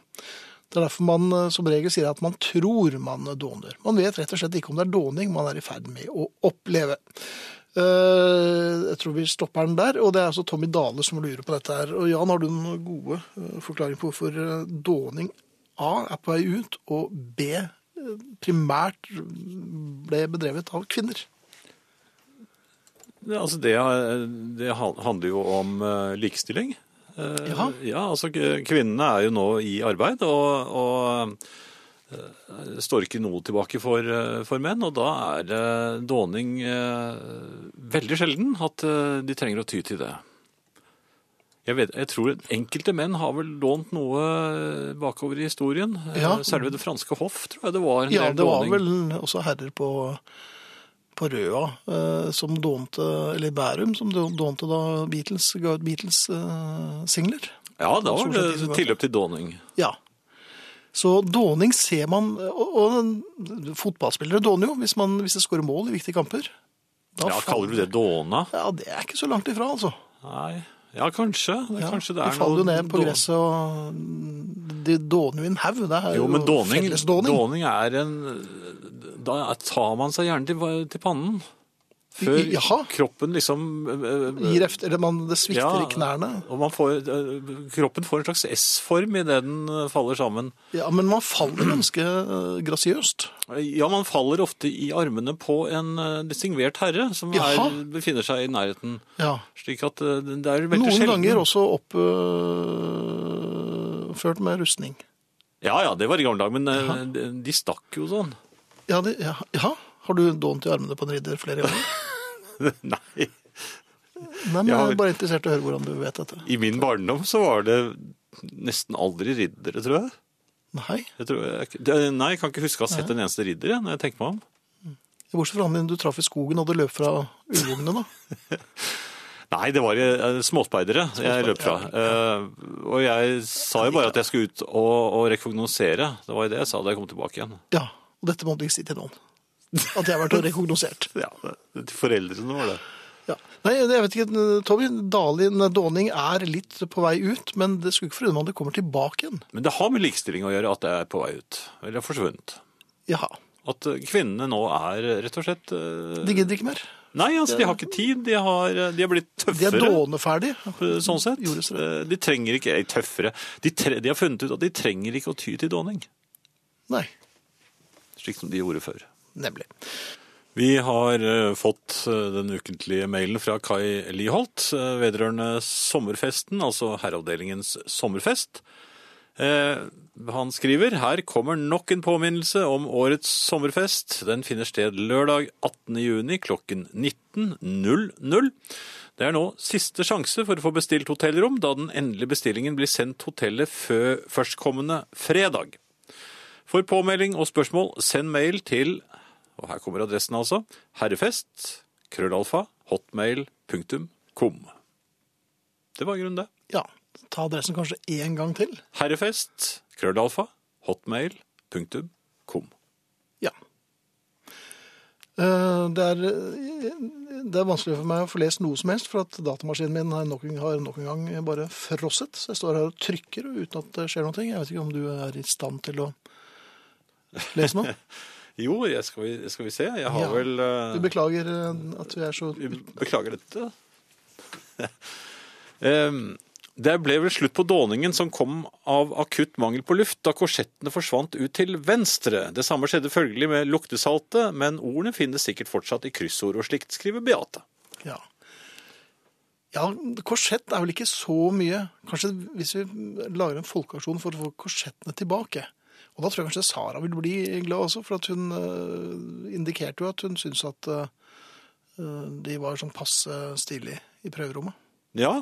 S1: Det er derfor man eh, som regel sier at man tror man dåner. Man vet rett og slett ikke om det er dåning man er i ferd med å oppleve. Eh, Jeg tror vi stopper den der, og det er altså Tommy Dale som lurer på dette her. Og Jan, har du noen gode eh, forklaringer på hvorfor eh, dåning A er på vei ut, og B eh, primært ble bedrevet av kvinner?
S2: Ja, altså det, er- det han- handler jo om eh, likestilling. Eh,
S1: Jaha.
S2: Ja, altså k- kvinnene er jo nå i arbeid og, og eh, står ikke noe tilbake for, eh, for menn. Og da er eh, dåning eh, veldig sjelden at eh, de trenger å ty til det. Jeg, vet, jeg tror enkelte menn har vel lånt noe eh, bakover i historien. Eh,
S1: Ja.
S2: Særlig ved det franske hoff, tror jeg det var en
S1: Ja,
S2: del
S1: det var
S2: dåning.
S1: vel også herrer på, på Røa eh, som dånte, eller i Bærum, som då- dånte da Beatles ga ut Beatles eh, singler.
S2: Ja, da
S1: Stort
S2: var
S1: sett de som
S2: det
S1: var-
S2: tilløp til dåning.
S1: Ja. Så dåning ser man Og, og fotballspillere dåner jo hvis, man, hvis det skårer mål i viktige kamper. Da
S2: Ja, kaller
S1: faller-
S2: du det dåna?
S1: Ja, det er ikke så langt ifra, altså.
S2: Nei. Ja, kanskje. Det,
S1: Ja,
S2: kanskje det
S1: de
S2: er
S1: faller jo
S2: noe
S1: ned på
S2: dån-
S1: gresset, og de dåner jo i en haug. Det er
S2: Jo, men dåning,
S1: felles dåning.
S2: dåning er en Da tar man seg gjerne til, til pannen. Før
S1: I- jaha.
S2: kroppen liksom eh, eh,
S1: Gir efter, eller man, det svikter
S2: Ja.
S1: i knærne.
S2: Og man får, eh, kroppen får en slags S-form idet den eh, faller sammen.
S1: Ja, men man faller ganske eh, grasiøst.
S2: Ja, man faller ofte i armene på en eh, distingvert herre som er,
S1: Jaha.
S2: befinner seg i nærheten.
S1: Ja.
S2: Slik at eh, det er veldig
S1: Noen
S2: sjelden.
S1: ganger også oppført med rustning.
S2: Ja, ja, det var i gamle dager, men eh, de- de stakk jo sånn.
S1: Ja, det, ja, ja. har du dånt i armene på en ridder flere ganger?
S2: Nei.
S1: Nei, men
S2: Jeg har-
S1: jeg er bare interessert i å høre hvordan du vet dette.
S2: I min barndom så var det nesten aldri riddere, tror jeg.
S1: Nei,
S2: jeg, tror jeg det- nei, jeg kan ikke huske å ha sett en eneste ridder jeg, når jeg tenker meg om.
S1: bortsett fra han din du traff i skogen og hadde løp fra ulvungene da.
S2: Nei, det var eh, småspeidere jeg løp fra. Eh, og jeg sa jo bare at jeg skulle ut og, og rekognosere. Det var jo det jeg sa da jeg kom tilbake igjen.
S1: Ja, og dette må du ikke si til noen. At jeg har vært rekognosert.
S2: Ja, det- Til foreldrene var det.
S1: Ja. Nei, jeg vet ikke, Tommy, Dalin Dåning er litt på vei ut, men det skulle ikke forundre meg om det kommer tilbake igjen.
S2: Men det har med likestilling å gjøre at det er på vei ut. Eller har forsvunnet.
S1: Jaha,
S2: At eh, kvinnene nå er eh, rett og slett eh,
S1: de gidder ikke mer.
S2: Nei, altså, de har ikke tid. De har, eh, de har blitt
S1: De er
S2: tøffere.
S1: dåneferdige.
S2: eh, Sånn sett.
S1: Jordes
S2: Eh, De trenger ikke eh, tøffere. De, tre, de har funnet ut at de trenger ikke å ty til dåning,
S1: Nei,
S2: slik som de gjorde før.
S1: nemlig.
S2: Vi har eh, fått eh, den ukentlige mailen fra Kai Liholt eh, vedrørende sommerfesten, altså herreavdelingens sommerfest. Eh, han skriver her kommer nok en påminnelse om årets sommerfest. Den finner sted lørdag 18. juni klokken 19.00. Det er nå siste sjanse for å få bestilt hotellrom, da den endelige bestillingen blir sendt hotellet fø- førstkommende fredag. For påmelding og spørsmål, send mail til, og her kommer adressen altså, herrefest, krøllalfa, hotmail.com. Det var i grunnen det.
S1: Ja, ta adressen kanskje én gang til.
S2: Herrefest, krøllalfa, hotmail.com.
S1: Ja. Eh, Det er, eh, det er vanskelig for meg å få lest noe som helst, for at datamaskinen min har nok, har nok en gang bare frosset. Så jeg står her og trykker uten at det skjer noe. Jeg vet ikke om du er i stand til å lese noe.
S2: Jo, jeg skal, vi, skal vi se. Jeg har
S1: Ja.
S2: vel eh,
S1: Du beklager eh, at vi er så
S2: Beklager dette. Em, Det ble vel slutt på dåningen som kom av akutt mangel på luft da korsettene forsvant ut til venstre. Det samme skjedde følgelig med luktesaltet, men ordene finnes sikkert fortsatt i kryssord og slikt, skriver Beate.
S1: Ja. Ja, korsett er vel ikke så mye. Kanskje hvis vi lager en folkeaksjon for å få korsettene tilbake. Og da tror jeg kanskje Sara vil bli glad også, for at hun eh, indikerte jo at hun syntes at eh, de var sånn passe stilige i prøverommet.
S2: Ja.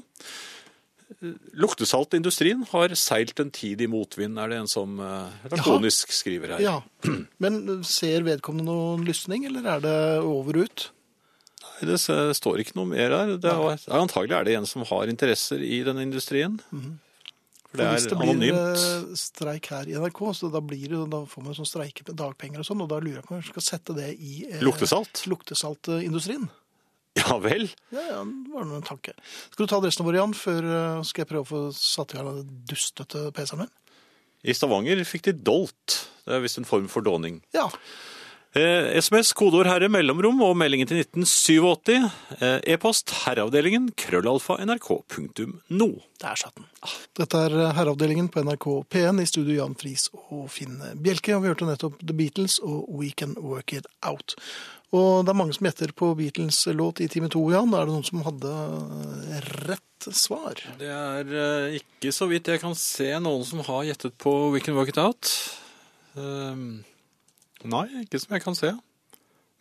S2: Luktesaltindustrien har seilt en tid i motvind, er det en som eh, lakonisk skriver her.
S1: Ja, Men eh, ser vedkommende noen lysning, eller er det over og ut?
S2: Nei, Det s- står ikke noe mer her. Det er, antagelig er det en som har interesser i denne industrien. For det
S1: Mhm. For
S2: er
S1: hvis det blir
S2: anonymt.
S1: eh, streik her i NRK, så da, blir det, da får man sånn streikedagpenger og sånn, og da lurer jeg på om vi skal sette det i eh,
S2: Luktesalt?
S1: luktesaltindustrien.
S2: Ja vel.
S1: Ja, ja, det var nå en tanke. Skal du ta adressen vår, Jan, før eh, skal jeg prøve å få satt i gang den dustete PC-en min?
S2: I Stavanger fikk de dolt. Det er visst en form for dåning.
S1: Ja.
S2: Eh, SMS, kodeord herre, mellomrom og meldingen til 1987. Eh, E-post herreavdelingen krøllalfa nrk.no.
S1: Der satt den. Ah, Dette er eh, herreavdelingen på NRK P1 i studio Jan Friis og Finn Bjelke. Og vi hørte nettopp The Beatles og We Can Work It Out. Og det er mange som gjetter på Beatles låt i time to, Jan. Er det noen som hadde eh, rett svar?
S2: Det er eh, ikke så vidt jeg kan se noen som har gjettet på We Can Work It Out. Ehm, nei, ikke som jeg kan se.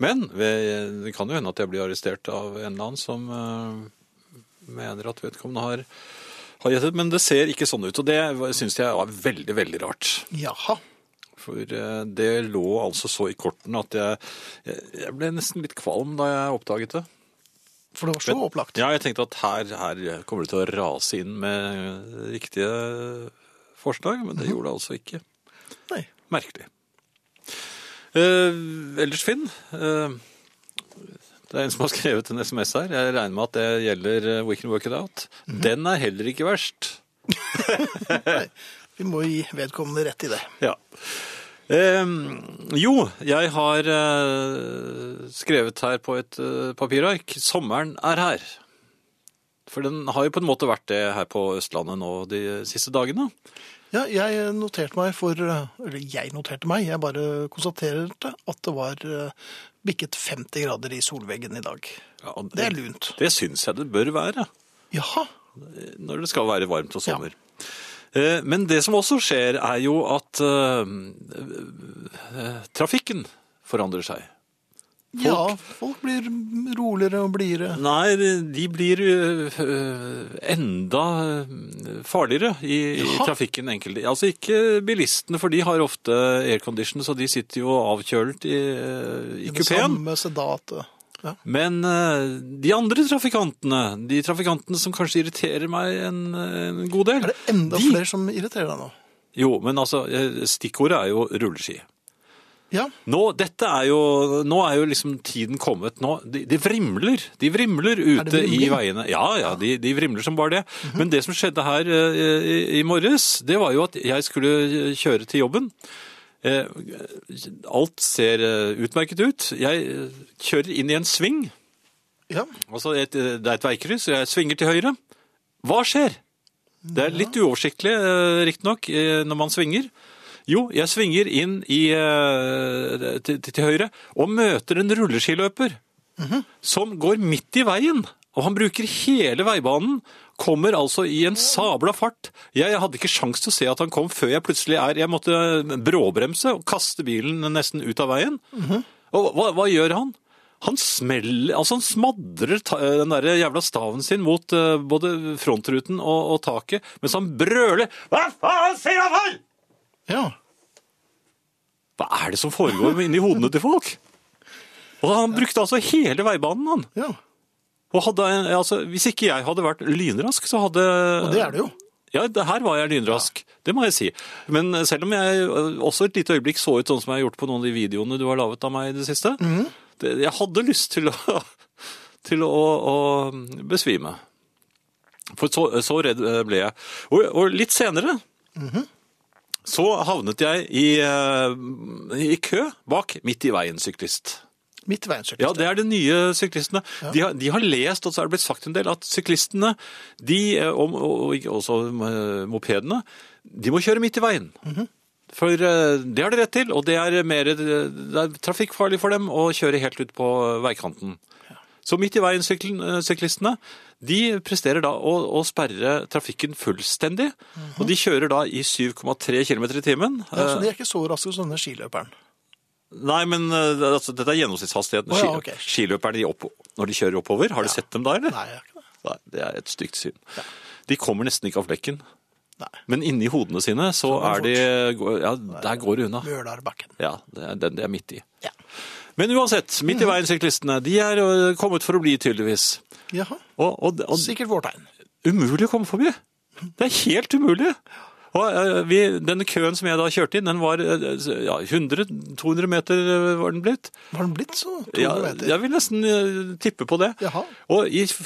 S2: Men ved- det kan jo hende at jeg blir arrestert av en eller annen som eh, mener at vedkommende har, har gjettet. Men det ser ikke sånn ut, og det syns jeg er veldig, veldig rart.
S1: Jaha.
S2: For eh, det lå altså så i kortene at jeg, jeg- jeg ble nesten litt kvalm da jeg oppdaget det.
S1: For det var så opplagt.
S2: Ja, jeg tenkte at her, her kommer det til å rase inn med riktige forslag, men det gjorde det altså ikke. Merkelig. Eh, ellers, Finn. eh, det er en som har skrevet en SMS her. Jeg regner med at det gjelder eh, We Can Work It Out. Den er heller ikke verst.
S1: Vi må gi vedkommende rett i det.
S2: Ja. Eh, jo, jeg har eh, skrevet her på et eh, papirark 'Sommeren er her'. For den har jo på en måte vært det her på Østlandet nå de siste dagene.
S1: Ja, jeg noterte meg for eh, Eller jeg noterte meg, jeg bare konstaterte at det var eh, bikket 50 grader i solveggen i dag.
S2: Ja, og
S1: Det er lunt.
S2: Eh, Det syns jeg det bør være. eh,
S1: Jaha.
S2: når det skal være varmt og sommer. Eh, Men det som også skjer, er jo at eh, eh, trafikken forandrer seg.
S1: Ja, folk blir roligere og blidere.
S2: Nei, de blir eh, enda eh, farligere i, i
S1: Jaha.
S2: trafikken. Enkelte. Altså ikke bilistene, for de har ofte aircondition, så de sitter jo avkjølt i, eh, i
S1: Det
S2: kupeen.
S1: samme sedate. Ja.
S2: Men eh, de andre trafikantene, de trafikantene som kanskje irriterer meg en, en god del
S1: Er det enda
S2: de-
S1: flere som irriterer deg nå?
S2: Jo, men altså, eh, stikkordet er jo rulleski.
S1: Ja.
S2: Nå, dette er jo, nå er jo liksom tiden kommet. Nå, de, de vrimler de vrimler ute i
S1: vrimling?
S2: veiene. Ja, ja, de, de vrimler som bare det. Men det som skjedde her eh, i, i morges, det var jo at jeg skulle kjøre til jobben. Eh, Alt ser eh, utmerket ut. Jeg eh, kjører inn i en sving.
S1: ja.
S2: Altså, et, det er et veikryss, og jeg svinger til høyre. Hva skjer? Det er litt uoversiktlig, eh, riktignok, eh, når man svinger. Jo, jeg svinger inn i, eh, til, til, til høyre og møter en rulleskiløper som går midt i veien. Og han bruker hele veibanen, kommer altså i en sabla fart. Jeg, jeg hadde ikke sjans til å se at han kom før jeg plutselig er Jeg måtte bråbremse og kaste bilen nesten ut av veien. Og hva, hva gjør han? Han smeller, altså han smadrer ta- den der jævla staven sin mot eh, både frontruten og, og taket, mens han brøler Hva faen sier han for?!
S1: ja.
S2: Hva er det som foregår inni hodene til folk? Og han brukte altså hele veibanen, han.
S1: ja.
S2: Og hadde, en- altså, hvis ikke jeg hadde vært lynrask, så hadde
S1: Og det er det jo.
S2: Ja, det, her var jeg lynrask. Det må jeg si. Men selv om jeg ø, også et lite øyeblikk så ut sånn som jeg har gjort på noen av de videoene du har laget av meg i det siste,
S1: Mhm.
S2: det, jeg hadde lyst til å, til å, å besvime. For så, så redd ø, ble jeg. Og, og litt senere
S1: Mhm.
S2: så havnet jeg i, ø, i kø bak midt i veien syklist.
S1: Midt i veien, syklist.
S2: Ja, det er de nye syklistene. De, har, de har lest, og så er det blitt sagt en del, at syklistene, de, eh, og, og, og også eh, mopedene, de må kjøre midt i veien.
S1: Mhm.
S2: For eh, det har de rett til, og det er, mer, eh, det er trafikkfarlig for dem å kjøre helt ut på veikanten. Så midt i veien syklen, eh, syklistene, de presterer da å, å sperre trafikken fullstendig, og de kjører da i 7,3 km i timen.
S1: Mhm.
S2: eh,
S1: Ja, så de er ikke så raske som denne skiløperen.
S2: Nei, men eh, altså, dette er gjennomsnittshastigheten.
S1: Å ja,
S2: Ski-
S1: ok.
S2: Skiløperne de opp, når de kjører oppover, har du sett dem da, eller?
S1: Nei, jeg er ikke det.
S2: Nei, det er et stygt syn. De kommer nesten ikke av flekken.
S1: Nei.
S2: Men inni hodene sine så
S1: går
S2: er de Ja, der går det unna.
S1: Mølarbakken.
S2: Ja, det er den de er midt i.
S1: Ja.
S2: Men uansett, midt
S1: Mhm.
S2: i veien syklistene. De er eh, kommet for å bli, tydeligvis.
S1: Jaha.
S2: Og, og, og
S1: Sikkert vårtegn.
S2: umulig å komme forbi. Det er helt umulig. Og eh, vi, denne køen som jeg da kjørte inn, den var eh, ja, 100-200 meter eh, var den blitt.
S1: Var den blitt så? 200
S2: Ja,
S1: meter?
S2: jeg vil nesten eh, tippe på det.
S1: Jaha.
S2: Og if-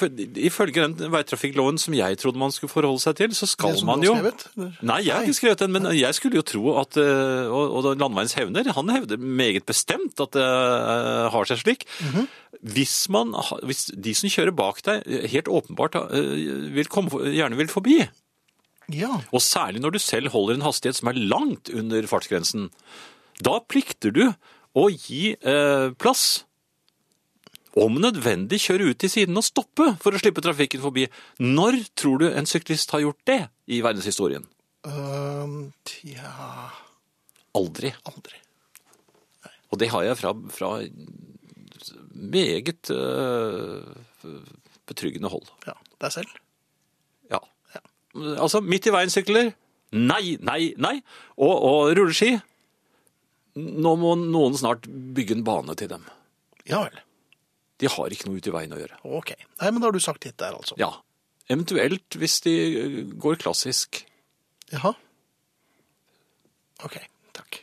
S2: ifølge den veitrafikkloven som jeg trodde man skulle forholde seg til, så skal
S1: Det som
S2: man
S1: du
S2: jo
S1: har skrevet?
S2: Nei, jeg har ikke skrevet den, men jeg skulle jo tro at eh, Og, og da landeveiens hevner, han hevder meget bestemt at det eh, har seg slik.
S1: Mhm.
S2: Hvis man ha- Hvis de som kjører bak deg, eh, helt åpenbart eh, vil komme, for- gjerne vil forbi,
S1: Ja.
S2: og særlig når du selv holder en hastighet som er langt under fartsgrensen. Da plikter du å gi eh, plass. Om nødvendig kjøre ut til siden og stoppe for å slippe trafikken forbi. Når tror du en syklist har gjort det i verdenshistorien?
S1: Øhm, Ehm, tja
S2: Aldri.
S1: Aldri.
S2: Og det har jeg fra, fra meget eh, betryggende hold.
S1: Ja, deg selv.
S2: Ja. Altså, midt i veien sykler. Nei, nei, nei. Og, og rulleski. Nå må noen snart bygge en bane til dem.
S1: Ja vel.
S2: De har ikke noe ute i veien å gjøre.
S1: Ok. Nei, men da har du sagt ditt der, altså.
S2: Ja. Eventuelt hvis de ø, går klassisk.
S1: Jaha. Ok, takk.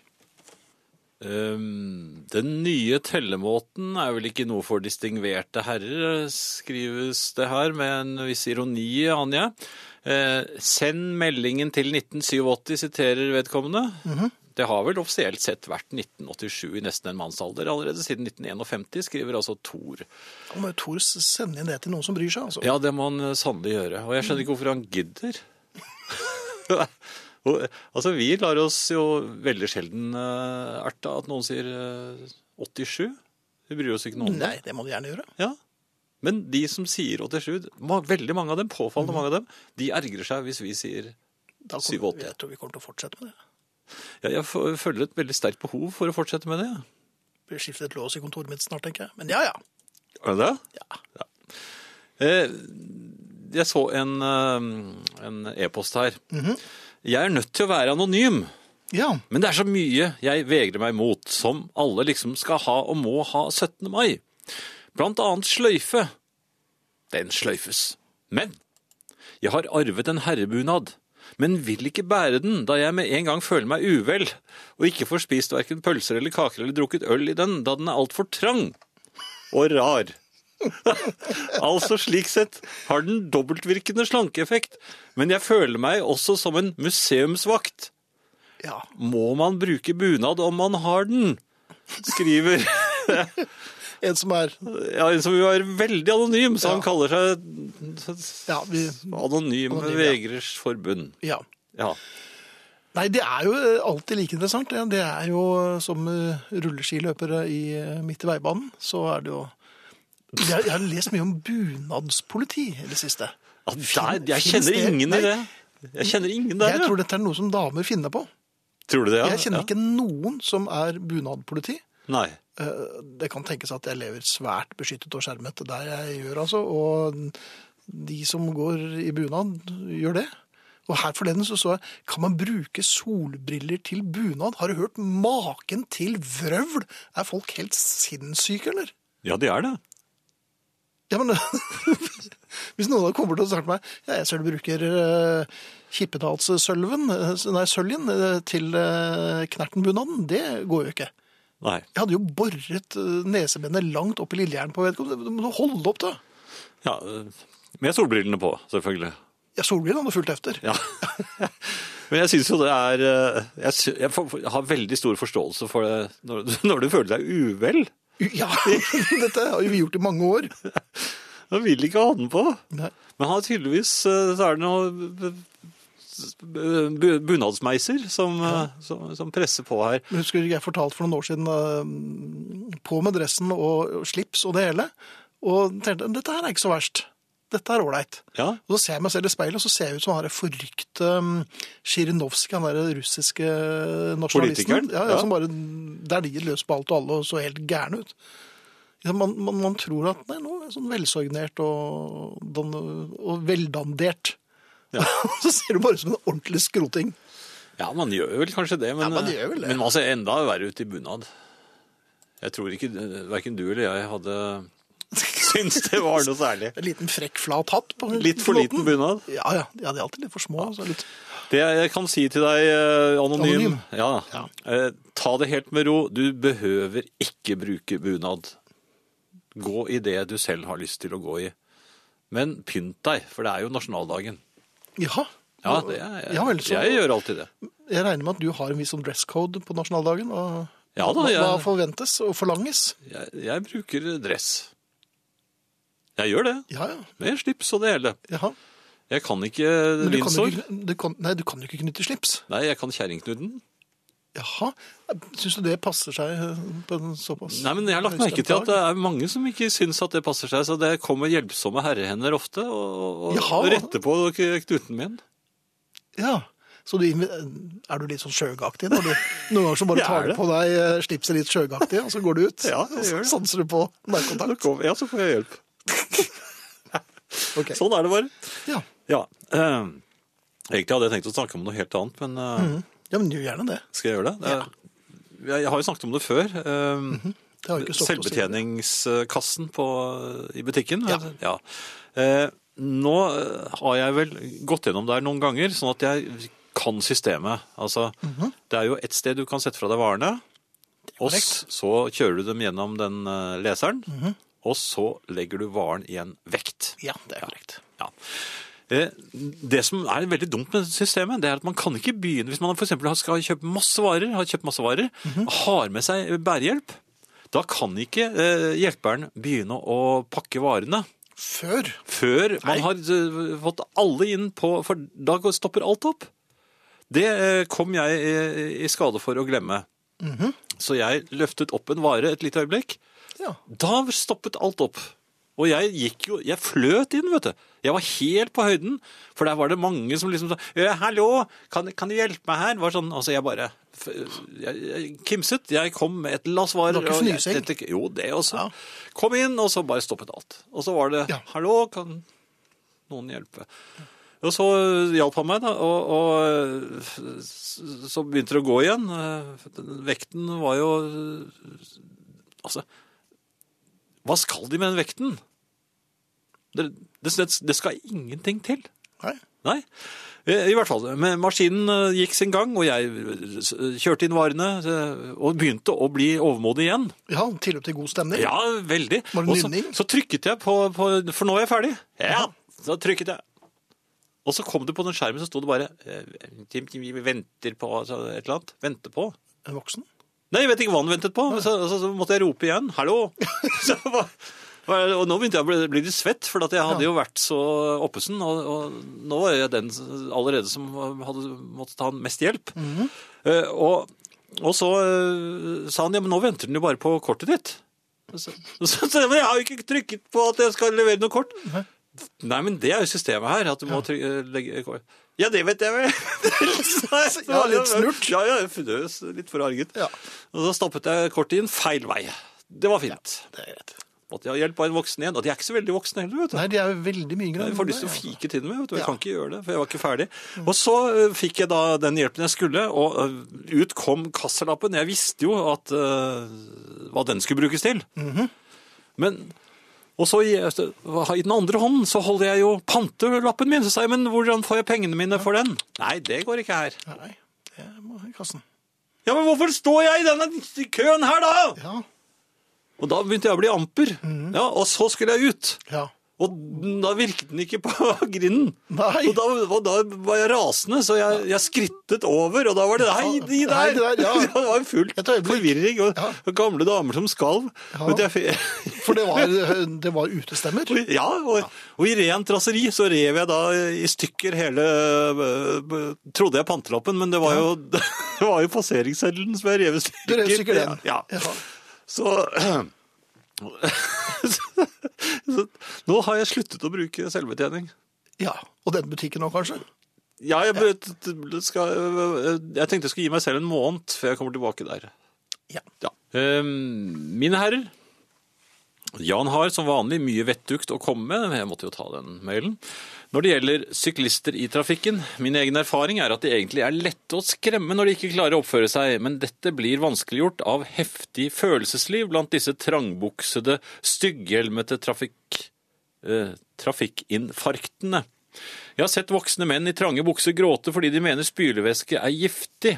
S2: Ehm, Den nye tellemåten er vel ikke noe for distingverte herrer, skrives det her med en viss ironi, aner jeg. Eh, Send meldingen til 1987, siterer vedkommende. Det har vel offisielt sett vært 1987 i nesten en mannsalder allerede, siden 1951, skriver altså Thor.
S1: Da må jo Tor sende inn det til noen som bryr seg, altså.
S2: Ja, det må han eh, sannelig gjøre. Og jeg skjønner ikke hvorfor han gidder. Og, eh, altså, vi lar oss jo veldig sjelden uh, erte at noen sier eh, 87. Vi bryr oss ikke noe om det.
S1: Nei, det må du gjerne gjøre.
S2: Ja. Men de som sier 87, ma- veldig mange av dem, påfallende mange av dem, de ergrer seg hvis vi sier
S1: Da kommer-
S2: 87.
S1: Jeg tror vi kommer til å fortsette med det.
S2: Ja, jeg f- føler et veldig sterkt behov for å fortsette med det. ja.
S1: blir skiftet lås i kontoret mitt snart, tenker jeg. Men ja, ja.
S2: Er det det? Ja. Eh, Jeg så en eh, en e-post her. Jeg er nødt til å være anonym,
S1: Ja,
S2: men det er så mye jeg vegrer meg mot, som alle liksom skal ha og må ha 17. mai. Blant annet sløyfe. Den sløyfes. Men jeg har arvet en herrebunad, men vil ikke bære den, da jeg med en gang føler meg uvel, og ikke får spist verken pølser eller kaker eller drukket øl i den, da den er altfor trang og rar. altså slik sett har den dobbeltvirkende slankeeffekt, men jeg føler meg også som en museumsvakt.
S1: ja.
S2: Må man bruke bunad om man har den? Skriver
S1: En som er
S2: ja, en som jo er veldig anonym, så han
S1: Ja.
S2: kaller seg
S1: Ja. Vi,
S2: Anonyme
S1: Anonym, ja.
S2: Vegrers Forbund.
S1: ja.
S2: Ja.
S1: Nei, det er jo eh, alltid like interessant. Det, det er jo som eh, rulleskiløpere i, eh, midt i veibanen, så er det jo jeg, jeg har lest mye om bunadspoliti i det siste.
S2: Ja, der, jeg
S1: Finnes
S2: kjenner
S1: det?
S2: ingen
S1: Nei.
S2: i det. Jeg kjenner ingen der.
S1: Jeg
S2: ja.
S1: tror dette er noe som damer finner på.
S2: tror du det? Ja?
S1: Jeg kjenner ikke noen som er bunadpoliti.
S2: Ja. Nei.
S1: Eh, Det kan tenkes at jeg lever svært beskyttet og skjermet der jeg gjør, altså. Og de som går i bunad, gjør det. Og her forleden så så jeg Kan man bruke solbriller til bunad? Har du hørt maken til vrøvl? Er folk helt sinnssyke, eller?
S2: Ja, de er det.
S1: Ja, men Hvis noen da kommer til å starte meg ja, Jeg ser du bruker uh, Kippedalssølven, eh, nei, Søljen, eh, til eh, Knertenbunaden. Det går jo ikke.
S2: Nei.
S1: Jeg hadde jo boret eh, nesebenet langt opp i lillehjernen på vedkommende. Du må holde opp, da!
S2: Ja, øh, med solbrillene på, selvfølgelig.
S1: Ja, Solbrillene hadde fulgt efter.
S2: Ja. Men jeg syns jo det er øh, jeg, sy jeg får- får- har veldig stor forståelse for det når, når du føler deg uvel.
S1: Ja, Dette har jo vi gjort i mange år.
S2: Man vil ikke ha den på.
S1: Nei.
S2: Men han er tydeligvis øh, så er det noe øh, bu- bu- bunadsmeiser som, øh, som, som presser på her.
S1: Men Husker du jeg fortalte for noen år siden eh, På med dressen og og slips og det hele. Og tenkte dette her er ikke så verst. Dette er ålreit.
S2: Ja.
S1: Og Så ser jeg meg selv i speilet, og så ser jeg ut som han der forrykte um, Sjirinovskij, han der russiske eh, nasjonalisten.
S2: Politikeren?
S1: Ja, ja,
S2: Ja.
S1: som bare dæljer løs på alt og alle og så helt gæren ut. Ja, Man, man, man tror at nei, nå er jeg sånn velsorgnert og, dan- og veldandert. så ser du bare ut som en ordentlig skroting.
S2: ja, man gjør vel kanskje det, men,
S1: Ja, man
S2: øh,
S1: gjør vel det.
S2: men man ser enda verre ut i bunad. Jeg tror ikke øh, verken du eller jeg hadde syntes det var noe særlig.
S1: En liten frekk, flat hatt. På
S2: Litt for
S1: måten.
S2: liten bunad.
S1: Ja, ja. ja, de er alltid litt for små. altså, litt.
S2: Det jeg kan si til deg, eh,
S1: Anonym?
S2: anonym, Ja, Eh, ta det helt med ro. Du behøver ikke bruke bunad. Gå i det du selv har lyst til å gå i. Men pynt deg, for det er jo nasjonaldagen.
S1: Ja.
S2: Ja, det er,
S1: Ja vel, så-
S2: jeg gjør alltid det.
S1: Jeg regner med at du har en viss sånn dresscode på nasjonaldagen. Og
S2: Ja da,
S1: hva-
S2: jeg-
S1: Hva forventes og forlanges?
S2: Jeg, jeg bruker dress. Jeg gjør det.
S1: Ja, ja.
S2: Med slips og det hele.
S1: Jaha.
S2: Jeg kan ikke
S1: Men du kan jo
S2: linsår.
S1: ikke, du kan, nei, du kan jo ikke knytte slips.
S2: Nei, jeg kan kjerringknuten.
S1: Jaha. Syns du det passer seg eh, på en såpass
S2: Nei, men jeg har lagt merke til at det er mange som ikke syns at det passer seg, så det kommer hjelpsomme herrehender ofte og, og,
S1: Jaha.
S2: og retter på k- knuten min.
S1: Ja. Så du, invi- er du litt sånn sjøgaktig? Når du, noen ganger så bare
S2: Jeg er
S1: tar du
S2: det.
S1: på deg eh, slipset litt sjøgaktig, og så går du ut?
S2: Ja,
S1: og
S2: jeg gjør
S1: så
S2: det.
S1: sanser du på nærkontakt?
S2: ja, så får jeg hjelp.
S1: Ok.
S2: Sånn er det bare.
S1: Ja.
S2: Ja. eh, egentlig hadde jeg tenkt å snakke om noe helt annet, men eh,
S1: ja, men gjør gjerne det.
S2: skal jeg gjøre det? Eh, jeg, jeg har jo snakket om det før. eh,
S1: Det har jo ikke stått å si.
S2: Selvbetjeningskassen på, i butikken.
S1: Ja.
S2: ja. Eh, nå eh, har jeg vel gått gjennom der noen ganger, sånn
S1: Mhm.
S2: at jeg kan systemet. Altså, Det er jo et sted du kan sette fra deg varene. oss, så kjører du dem gjennom den eh, leseren, og så legger du varen i en vekt.
S1: Mhm. Ja, det er korrekt.
S2: Ja. Eh, Det som er veldig dumt med systemet, det er at man kan ikke begynne Hvis man for eksempel skal kjøpe masse varer, har kjøpt masse varer,
S1: Mhm.
S2: har med seg bærehjelp, da kan ikke eh, hjelperen begynne å pakke varene
S1: Før
S2: før man har eh, fått alle inn på For da går- stopper alt opp. Det eh, kom jeg eh, i skade for å glemme.
S1: Mhm.
S2: Så jeg løftet opp en vare et lite øyeblikk.
S1: Ja.
S2: Da stoppet alt opp. Og jeg gikk jo, jeg fløt inn, vet du. Jeg var helt på høyden, for der var det mange som liksom sa «Eh, 'Hallo, kan, kan du hjelpe meg her?' Var sånn, altså jeg bare f- jeg, jeg kimset. Jeg kom med et lass varer.
S1: Det var ikke
S2: og jeg-
S1: fnysing?
S2: dette- Jo, det også. Kom inn, og så bare stoppet alt. Og så var det
S1: Ja.
S2: 'Hallo, kan noen hjelpe?' Og så hjalp han meg, da, og, og s- så begynte det å gå igjen. Vekten var jo Altså, hva skal de med den vekten? Det, det, det skal ingenting til.
S1: Nei.
S2: Nei. Eh, I hvert fall. Men maskinen eh, gikk sin gang, og jeg eh, s- kjørte inn varene eh, og begynte å bli overmodig igjen.
S1: Ja, tilløp til god stemning.
S2: Ja, veldig.
S1: Var det
S2: Og så,
S1: nynning?
S2: så trykket jeg på, på For nå er jeg ferdig. Ja, så trykket jeg. Og så kom det på den skjermen, så sto det bare eh, «Tim, Tim, Vi venter på altså, et eller annet. Venter på.
S1: En voksen.
S2: Nei, jeg vet ikke hva han ventet på. men Så, så, så måtte jeg rope igjen. Hallo! Så, hva- hva- og nå begynte jeg å bli, bli litt svett, for at jeg hadde jo vært så oppesen. Og, og nå var jeg den allerede som hadde måttet ta mest hjelp.
S1: Mhm.
S2: Eh, og, og så eh, sa han ja, men nå venter den jo bare på kortet ditt. Og Så, så, så, men jeg har jo ikke trykket på at jeg skal levere noe kort. Nei, men det er jo systemet her, at du må trykke, legge kort. Ja, det vet jeg vel!
S1: Ja, litt snurt.
S2: Ja, ja, jeg frøs litt forarget.
S1: Ja.
S2: Og så stappet jeg kortet inn feil vei. Det var fint.
S1: Det er greit.
S2: Måtte jeg ha hjelp av en voksen igjen. Og de er ikke så veldig voksne heller, vet du.
S1: Nei, de er jo veldig mye grønne.
S2: Jeg får lyst til å
S1: Ja.
S2: fike til dem, vet du. Jeg
S1: Ja. Mm.
S2: kan ikke gjøre det, for jeg var ikke ferdig. Og så eh, fikk jeg da den hjelpen jeg skulle, og eh, ut kom kassalappen. Jeg visste jo at, eh, hva den skulle brukes til.
S1: Mhm.
S2: Men, og så i, i den andre hånden så holder jeg jo pantelappen min, så sa jeg, men hvordan får jeg pengene mine for den? Nei, det går ikke her.
S1: Nei, det må i kassen.
S2: Ja, men hvorfor står jeg i denne køen her da?
S1: Ja.
S2: Og da begynte jeg å bli amper.
S1: Mhm.
S2: Ja, og så skulle jeg ut.
S1: Ja.
S2: Og da virket den ikke på grinden.
S1: Nei.
S2: Og da, og da var jeg rasende, så jeg, jeg skrittet over, og da var det Hei, de der!
S1: Hei, de der, ja.
S2: det var jo fullt
S1: Et øyeblikk.
S2: forvirring, og,
S1: Ja.
S2: og gamle damer som skalv.
S1: Ja.
S2: Men jeg fikk-
S1: For det var, det var utestemmer.
S2: Og i- Ja, og, og i rent raseri så rev jeg da i stykker hele øh, øh, Trodde jeg pantelappen, men det var jo, det var jo passeringsseddelen som jeg rev i stykker.
S1: Du rev sikkert den.
S2: Ja.
S1: Ja.
S2: Så, så, så Nå har jeg sluttet å bruke selvbetjening.
S1: ja. Og den butikken nå, kanskje?
S2: Ja, jeg, be- t- t- skal, jeg tenkte jeg skulle gi meg selv en måned før jeg kommer tilbake der.
S1: Ja.
S2: Ja. Ehm, mine herrer, Jan har som vanlig mye vettugt å komme med, men jeg måtte jo ta den mailen. Når det gjelder syklister i trafikken, min egen erfaring er at de egentlig er lette å skremme når de ikke klarer å oppføre seg, men dette blir vanskeliggjort av heftig følelsesliv blant disse trangbuksede, stygghjelmete trafikk, eh, trafikkinfarktene. Jeg har sett voksne menn i trange bukser gråte fordi de mener spylevæske er giftig.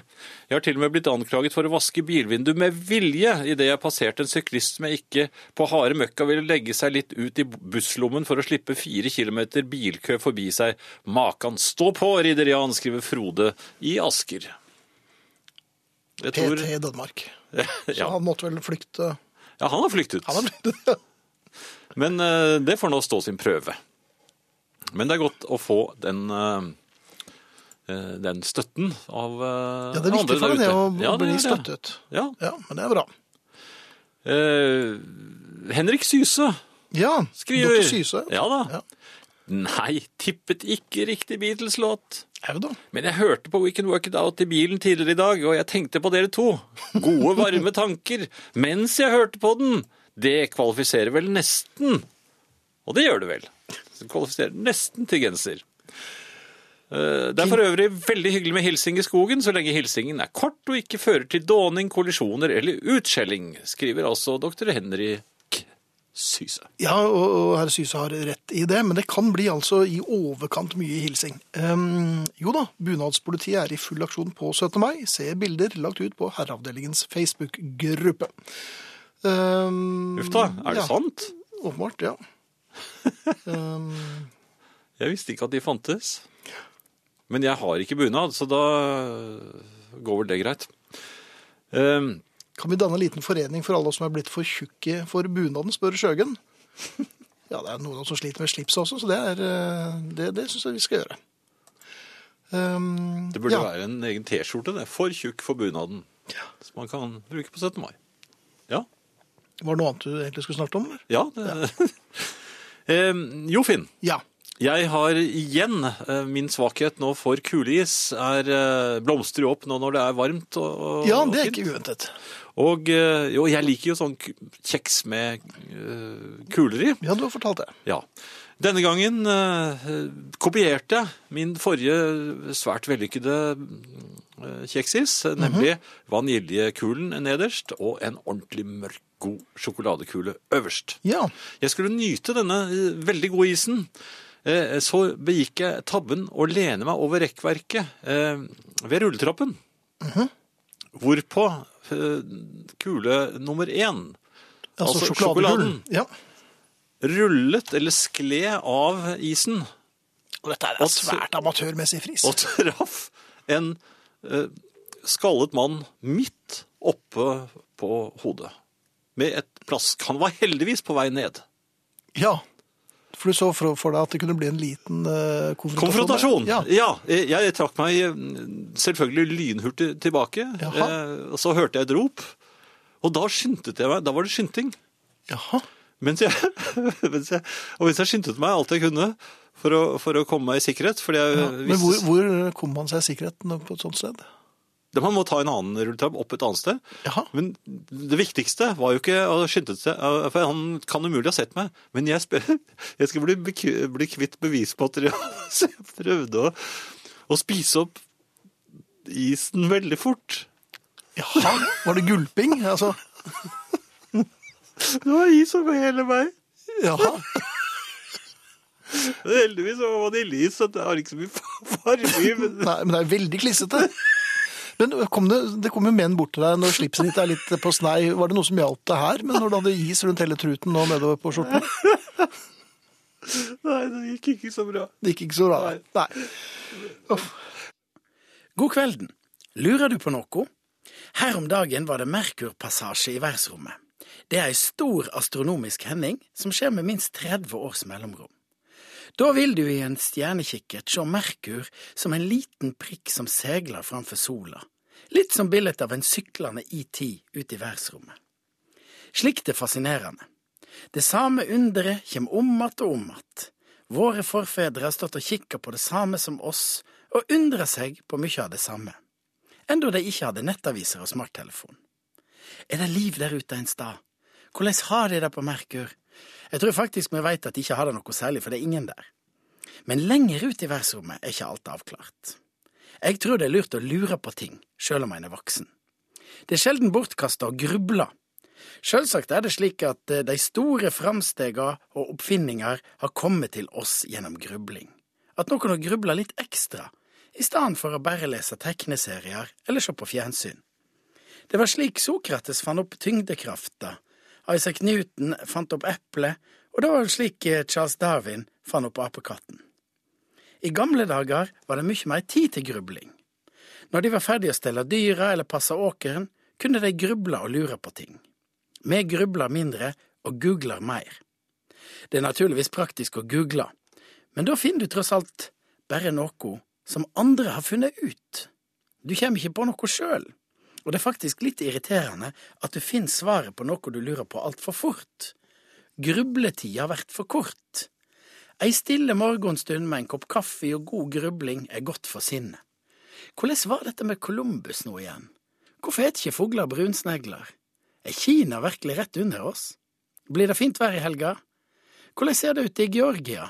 S2: Jeg har til og med blitt anklaget for å vaske bilvindu med vilje idet jeg passerte en syklist som jeg ikke på harde møkka ville legge seg litt ut i busslommen for å slippe fire kilometer bilkø forbi seg. Makan stå på, ridderian, skriver Frode i Asker. Jeg tror,
S1: PT i Danmark. Så
S2: ja,
S1: han måtte vel flykte
S2: ja, han har flyktet.
S1: Han har flyktet.
S2: Men eh, det får nå stå sin prøve. Men det er godt å få den, eh, eh, den støtten av
S1: Ja, det
S2: eh,
S1: er viktig
S2: andre
S1: for
S2: der
S1: ham det å
S2: ute. Ja, det
S1: bli
S2: er det.
S1: støttet.
S2: Ja.
S1: Ja, men det er bra.
S2: Eh, Henrik Syse
S1: Ja.
S2: skriver
S1: Dr. Syse.
S2: Ja da.
S1: Ja.
S2: Nei, tippet ikke riktig Beatles-låt.
S1: Au da.
S2: Men jeg hørte på We Can Work It Out i bilen tidligere i dag, og jeg tenkte på dere to. Gode, varme tanker mens jeg hørte på den. Det kvalifiserer vel nesten. Og det gjør det vel. Det kvalifiserer nesten til genser. Eh, Det er for øvrig veldig hyggelig med hilsing i skogen, så lenge hilsingen er kort og ikke fører til dåning, kollisjoner eller utskjelling, skriver altså dr. Henrik Syse.
S1: Ja, og, og herr Syse har rett i det, men det kan bli altså i overkant mye hilsing. Ehm, jo da, bunadspolitiet er i full aksjon på 17. mai. Se bilder lagt ut på herreavdelingens Facebook-gruppe. Ehm,
S2: Uff da, er det
S1: ja,
S2: sant?
S1: Åpenbart, ja. Ehm,
S2: Jeg visste ikke at de fantes. Men jeg har ikke bunad, så da går vel det greit. Ehm,
S1: kan vi danne en liten forening for alle oss som er blitt for tjukke for bunaden, spør Sjøgen. Ja, det er noen av oss som sliter med slipset også, så det, er, eh, det, det syns jeg vi skal gjøre. Ehm,
S2: det burde
S1: ja.
S2: være en egen T-skjorte, det. For tjukk for bunaden. Som man kan bruke på 17. mai. Ja.
S1: Var det noe annet du egentlig skulle snakke om? eller?
S2: ja, det... Ehm, jo, Finn.
S1: Ja.
S2: Jeg har igjen eh, min svakhet nå for kuleis. Er, eh, blomstrer jo opp nå når det er varmt. Og, og,
S1: ja, det er
S2: og fint.
S1: ikke uventet.
S2: Og eh, jo, jeg liker jo sånn k- kjeks med eh, kuler i.
S1: Ja, du har fortalt det.
S2: Ja. Denne gangen eh, kopierte jeg min forrige svært vellykkede eh, kjeksis, nemlig vaniljekulen nederst og en ordentlig mørk, god sjokoladekule øverst.
S1: Ja.
S2: Jeg skulle nyte denne eh, veldig gode isen. Eh, Så begikk jeg tabben og lene meg over rekkverket eh, ved rulletrappen. Hvorpå eh, kule nummer én
S1: Altså,
S2: Altså,
S1: sjokoladegull. Ja.
S2: rullet eller skled av isen
S1: Og dette er
S2: Og så-
S1: svært amatørmessig fris.
S2: og traff en eh, skallet mann midt oppe på hodet. Med et plask. Han var heldigvis på vei ned.
S1: Ja. For du så for, for deg at det kunne bli en liten eh, konfrontasjon.
S2: Konfrontasjon!
S1: Ja.
S2: Ja. jeg, jeg trakk meg eh, selvfølgelig lynhurtig tilbake.
S1: Jaha.
S2: eh, og så hørte jeg et rop, og da skyndte jeg meg. Da var det skynding.
S1: Jaha.
S2: Mens jeg, mens jeg, og mens jeg skyndte meg alt jeg kunne for å, for å komme meg i sikkerhet. Fordi jeg
S1: Ja. Men
S2: visste-
S1: hvor, hvor kom man seg i sikkerheten på et sånt sted?
S2: Da Man må ta en annen rulletrapp opp et annet sted.
S1: Jaha.
S2: Men det viktigste var jo ikke å skynde seg, eh, for han kan umulig ha sett meg. Men jeg, spe- jeg skal bli, bek- bli kvitt bevismaterialet, så jeg prøvde å, å spise opp isen veldig fort.
S1: Jaha. Var det gulping? Altså,
S2: Det var is over hele meg.
S1: jaha.
S2: Men Heldigvis var vaniljeis, så det har ikke så mye fa- farge. i, Men
S1: Nei, men det er veldig klissete. Men kom det, det kom jo menn bort til deg når slipset ditt er litt på snei. Var det noe som hjalp deg her? Men når du hadde is rundt hele truten og nedover på skjorten?
S2: nei, det gikk ikke så bra.
S1: Det gikk ikke så bra. Nei.
S4: God kvelden. Lurer du på noe? Her om dagen var det Merkurpassasje i verdensrommet. Det er ei stor astronomisk hending som skjer med minst 30 års mellomrom. Da vil du i en stjernekikkert se Merkur som en liten prikk som seiler framfor sola, litt som bildet av en syklende ET ute i verdensrommet. Slikt er fascinerende. Det samme underet kommer om att og om att. Våre forfedre har stått og kikka på det samme som oss, og undra seg på mye av det samme. Enda de ikke hadde nettaviser og smarttelefon. Er det liv der ute en stad? Hvordan har de det på Merkur? Jeg tror faktisk vi veit at de ikke har det noe særlig, for det er ingen der. Men lenger ut i verdensrommet er ikke alt avklart. Jeg tror det er lurt å lure på ting, sjøl om en er voksen. Det er sjelden bortkasta å gruble. Sjølsagt er det slik at eh, de store framstega og oppfinninger har kommet til oss gjennom grubling. At noen har grubla litt ekstra, i stedet for å bare lese tegneserier eller se på fjernsyn. Det var slik Sokrates fant opp tyngdekrafta, Isaac Newton fant opp eplet, og det var vel slik eh, Charles Darwin fant opp apekatten. I gamle dager var det mye mer tid til grubling. Når de var ferdige å stelle dyra eller passe åkeren, kunne de gruble og lure på ting. Vi grubler mindre og googler mer. Det er naturligvis praktisk å google, men da finner du tross alt bare noe som andre har funnet ut. Du kommer ikke på noe sjøl, og det er faktisk litt irriterende at du finner svaret på noe du lurer på altfor fort. Grubletida blir for kort. Ei stille morgenstund med en kopp kaffe og god grubling er godt for sinnet. Hvordan var dette med Columbus nå igjen? Hvorfor er ikke fugler brunsnegler? Er Kina virkelig rett under oss? Blir det fint vær i helga? Hvordan ser det ut i Georgia?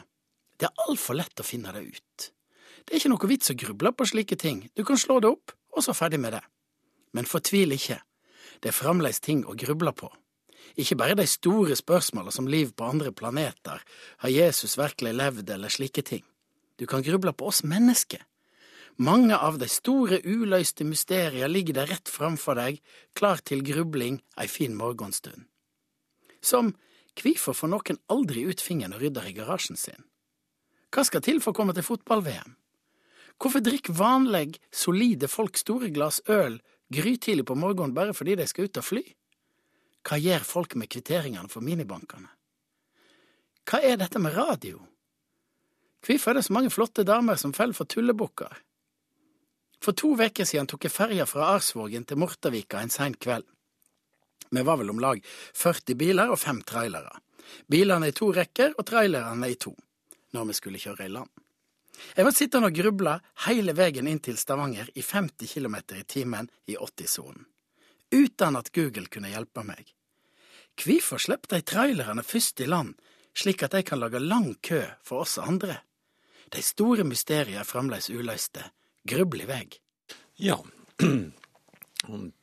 S4: Det er altfor lett å finne det ut. Det er ikke noe vits å gruble på slike ting, du kan slå det opp, og så ferdig med det. Men fortvil ikke, det er fremdeles ting å gruble på. Ikke bare de store spørsmåla som liv på andre planeter, har Jesus virkelig levd eller slike ting. Du kan gruble på oss mennesker. Mange av de store uløste mysterier ligger der rett framfor deg, klar til grubling ei fin morgenstund. Som hvorfor får noen aldri ut fingeren og rydder i garasjen sin? Hva skal til for å komme til fotball-VM? Hvorfor drikker vanlig, solide folk store glass øl grytidlig på morgenen bare fordi de skal ut og fly? Hva gjør folk med kvitteringene for minibankene? Hva er dette med radio? Hvorfor er det så mange flotte damer som faller for tullebukker? For to uker siden tok jeg ferja fra Arsvågen til Mortavika en sein kveld. Vi var vel om lag 40 biler og fem trailere. Bilene i to rekker og trailerne i to, når vi skulle kjøre i land. Jeg var sittende og grubla hele veien inn til Stavanger i 50 km i timen i 80-sonen, uten at Google kunne hjelpe meg. Hvorfor slipper de trailerne først i land, slik at de kan lage lang kø for oss andre? De store mysteriene er fremdeles uløste. Grubl i vei.
S2: Ja.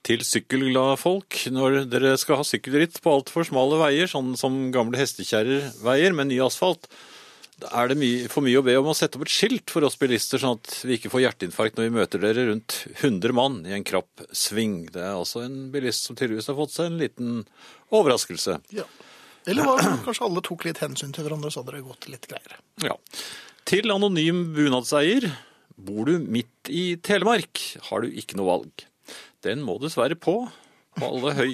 S2: Til sykkelglade folk, når dere skal ha sykkelritt på altfor smale veier, sånn som gamle hestekjerreveier med ny asfalt, da er det mye, for mye å be om å sette opp et skilt for oss bilister, sånn at vi ikke får hjerteinfarkt når vi møter dere rundt 100 mann i en krapp sving. Det er altså en bilist som tydeligvis har fått seg en liten overraskelse.
S1: Ja. Eller var det kanskje alle tok litt hensyn til hverandre, så hadde det gått litt greiere.
S2: Ja. Til anonym bunadseier. Bor du midt i Telemark, har du ikke noe valg. Den må dessverre på. På alle høy...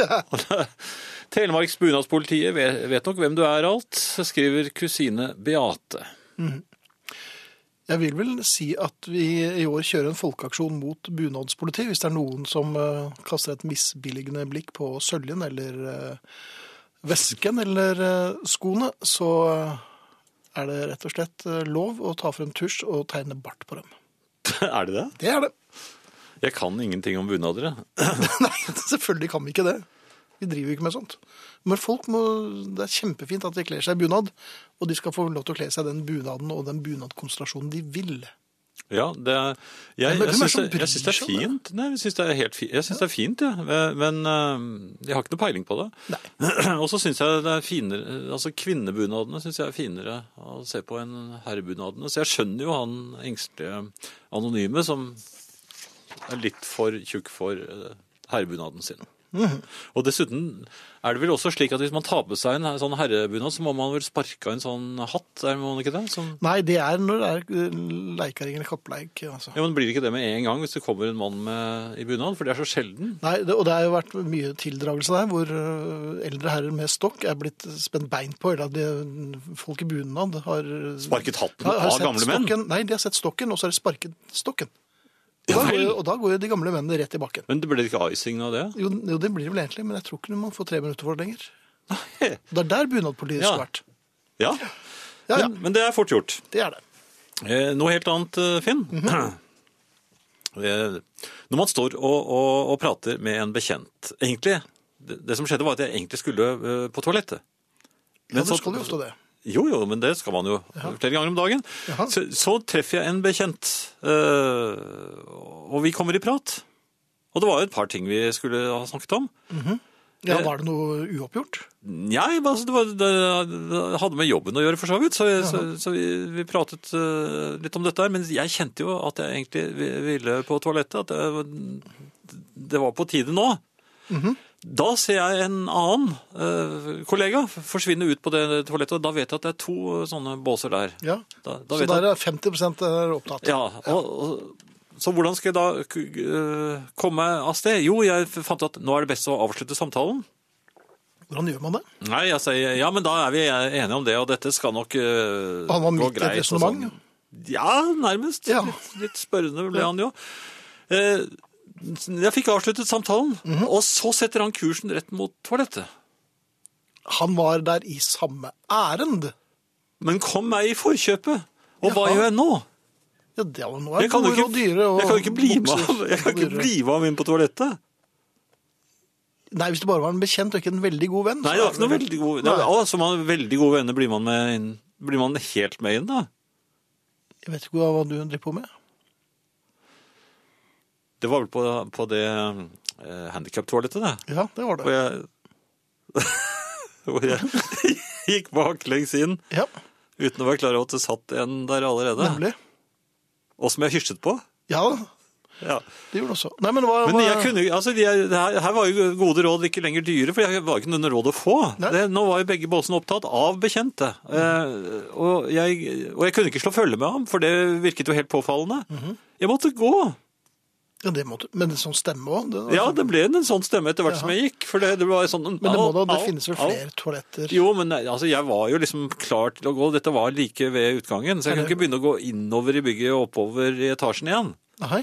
S2: Telemarks bunadspolitiet ve- vet nok hvem du er alt, skriver kusine Beate.
S1: Jeg vil vel si at vi i år kjører en folkeaksjon mot bunadspoliti, hvis det er noen som eh, kaster et misbilligende blikk på søljen eller eh, vesken eller eh, skoene, så eh, er det rett og slett eh, lov å ta frem tusj og tegne bart på dem.
S2: er det det?
S1: Det er det.
S2: Jeg kan ingenting om bunader. jeg.
S1: Nei, selvfølgelig kan vi ikke det. Vi driver jo ikke med sånt. Men folk må, det er kjempefint at de kler seg i bunad, og de skal få lov til å kle seg den bunaden og den bunadkonstellasjonen de vil.
S2: Ja, det er, jeg,
S1: Men hvem er det
S2: jeg, syns
S1: som
S2: det, jeg syns det er
S1: bryr seg om
S2: fint. Nei, jeg syns det er helt fint, jeg syns det er fint, jeg. Men øh, jeg har ikke noe peiling på det. Og så syns jeg det er finere Altså kvinnebunadene syns jeg er finere å se på enn herrebunadene. Så jeg skjønner jo han engstelige anonyme som er litt for tjukk for øh, herrebunaden sin. Og dessuten er det vel også slik at hvis man tar på seg en sånn herrebunad, så må man vel sparke av en sånn hatt, er man ikke det? Som
S1: Nei, det er når det er eh, leikering eller kappleik. Altså.
S2: Ja, men Blir det ikke det med en gang hvis det kommer en mann med, i bunad? For det er så sjelden.
S1: Nei, det, og det har jo vært mye tildragelse der, hvor eh, eldre herrer med stokk er blitt spent bein på, eller at de, folk i bunad har eh,
S2: Sparket hatten
S1: har- har
S2: av
S1: sett
S2: gamle menn?
S1: stokken. Nei, de har sett stokken, og så har de sparket stokken. Og
S2: Ja
S1: da, går,
S2: vel.
S1: jo- og da går jo de gamle mennene rett i bakken.
S2: Men det ble ikke icing av det?
S1: Jo, jo, det blir det vel egentlig, men jeg tror ikke man får tre minutter for det lenger. Det er der bunadpolitiet
S2: Ja.
S1: skulle vært.
S2: Ja,
S1: Ja, ja,
S2: Men, men det er fort gjort.
S1: det er det.
S2: Eh, noe helt annet, eh, Finn.
S1: Mhm.
S2: eh, når man står og, og, og prater med en bekjent Egentlig, det, det som skjedde var at jeg egentlig skulle eh, på toalettet.
S1: Ja, du
S2: så-
S1: skal jo ofte det.
S2: Jo, jo, men det skal man jo flere ganger om dagen.
S1: Jaha.
S2: Så, så treffer jeg en bekjent, eh, og vi kommer i prat. Og det var jo et par ting vi skulle ha snakket om.
S1: Ja, var det noe uoppgjort?
S2: Nei, men altså, det, var, det hadde med jobben å gjøre for så vidt, så, så, så vi, vi pratet eh, litt om dette her. Men jeg kjente jo at jeg egentlig vi- ville på toalettet, at jeg, det var på tide nå.
S1: Mhm.
S2: Da ser jeg en annen eh, kollega forsvinne ut på det toalettet, og da vet jeg at det er to eh, sånne båser der.
S1: Ja.
S2: Da,
S1: Så
S2: da vet jeg-
S1: der er 50 er opptatt.
S2: ja, og, og, så hvordan skal jeg da k- øh, komme av sted? Jo, jeg f- fant ut at nå er det best å avslutte samtalen.
S1: Hvordan gjør man det?
S2: Nei, altså, jeg sier, ja, men da er vi enige om det, og dette skal nok øh,
S1: Han var midt i et
S2: og
S1: resonemang,
S2: sånn. Ja, nærmest.
S1: Ja.
S2: Litt, litt spørrende ble han jo. Eh, jeg fikk avsluttet samtalen,
S1: Mhm.
S2: og så setter han kursen rett mot toalettet.
S1: Han var der i samme ærend.
S2: Men kom meg i forkjøpet, og hva
S1: Jaha.
S2: gjør jeg nå?
S1: Ja, det var noe
S2: Jeg kan jo
S1: bord og
S2: ikke,
S1: dyre og
S2: jeg kan jo ikke bli med
S1: bukser
S2: ham- jeg kan
S1: og
S2: jo ikke
S1: dyre.
S2: bli med ham inn på toalettet.
S1: Nei, hvis det bare var en bekjent og ikke en veldig god venn.
S2: Nei, det var ikke noe veldig god det var,
S1: Nei.
S2: Å, Som man, veldig gode venner blir man, med inn, blir man helt med inn, da?
S1: Jeg vet ikke hva du driver på med.
S2: Det var vel på, på det eh, handicap-toalettet, det.
S1: Ja, det var
S2: Og
S1: det.
S2: jeg Hvor jeg gikk baklengs inn
S1: Ja,
S2: uten å være klar over at det satt en der allerede.
S1: nemlig.
S2: Og som jeg hysjet på.
S1: Ja da,
S2: Ja.
S1: det gjorde det også. Nei, men hva,
S2: Men jeg
S1: hva-
S2: kunne, jo- altså, jeg, her, her var jo gode råd ikke lenger dyre, for jeg var ikke noe råd å få.
S1: Nei.
S2: Det, nå var jo begge båsene opptatt av bekjente. Eh, og, jeg, og jeg kunne ikke slå følge med ham, for det virket jo helt påfallende.
S1: Mhm.
S2: Jeg måtte gå.
S1: Ja, det måtte, men sånn stemme òg? Det,
S2: Ja, det ble en sånn stemme etter hvert som jeg gikk. For det, det var sånn...
S1: men det, må da,
S2: au,
S1: det
S2: au,
S1: finnes vel
S2: au.
S1: flere toaletter?
S2: Jo, men altså, jeg var jo liksom klar til å gå. Dette var like ved utgangen, så
S1: Er
S2: jeg kunne
S1: det-
S2: ikke begynne å gå innover i bygget og oppover i etasjen igjen.
S1: Nei.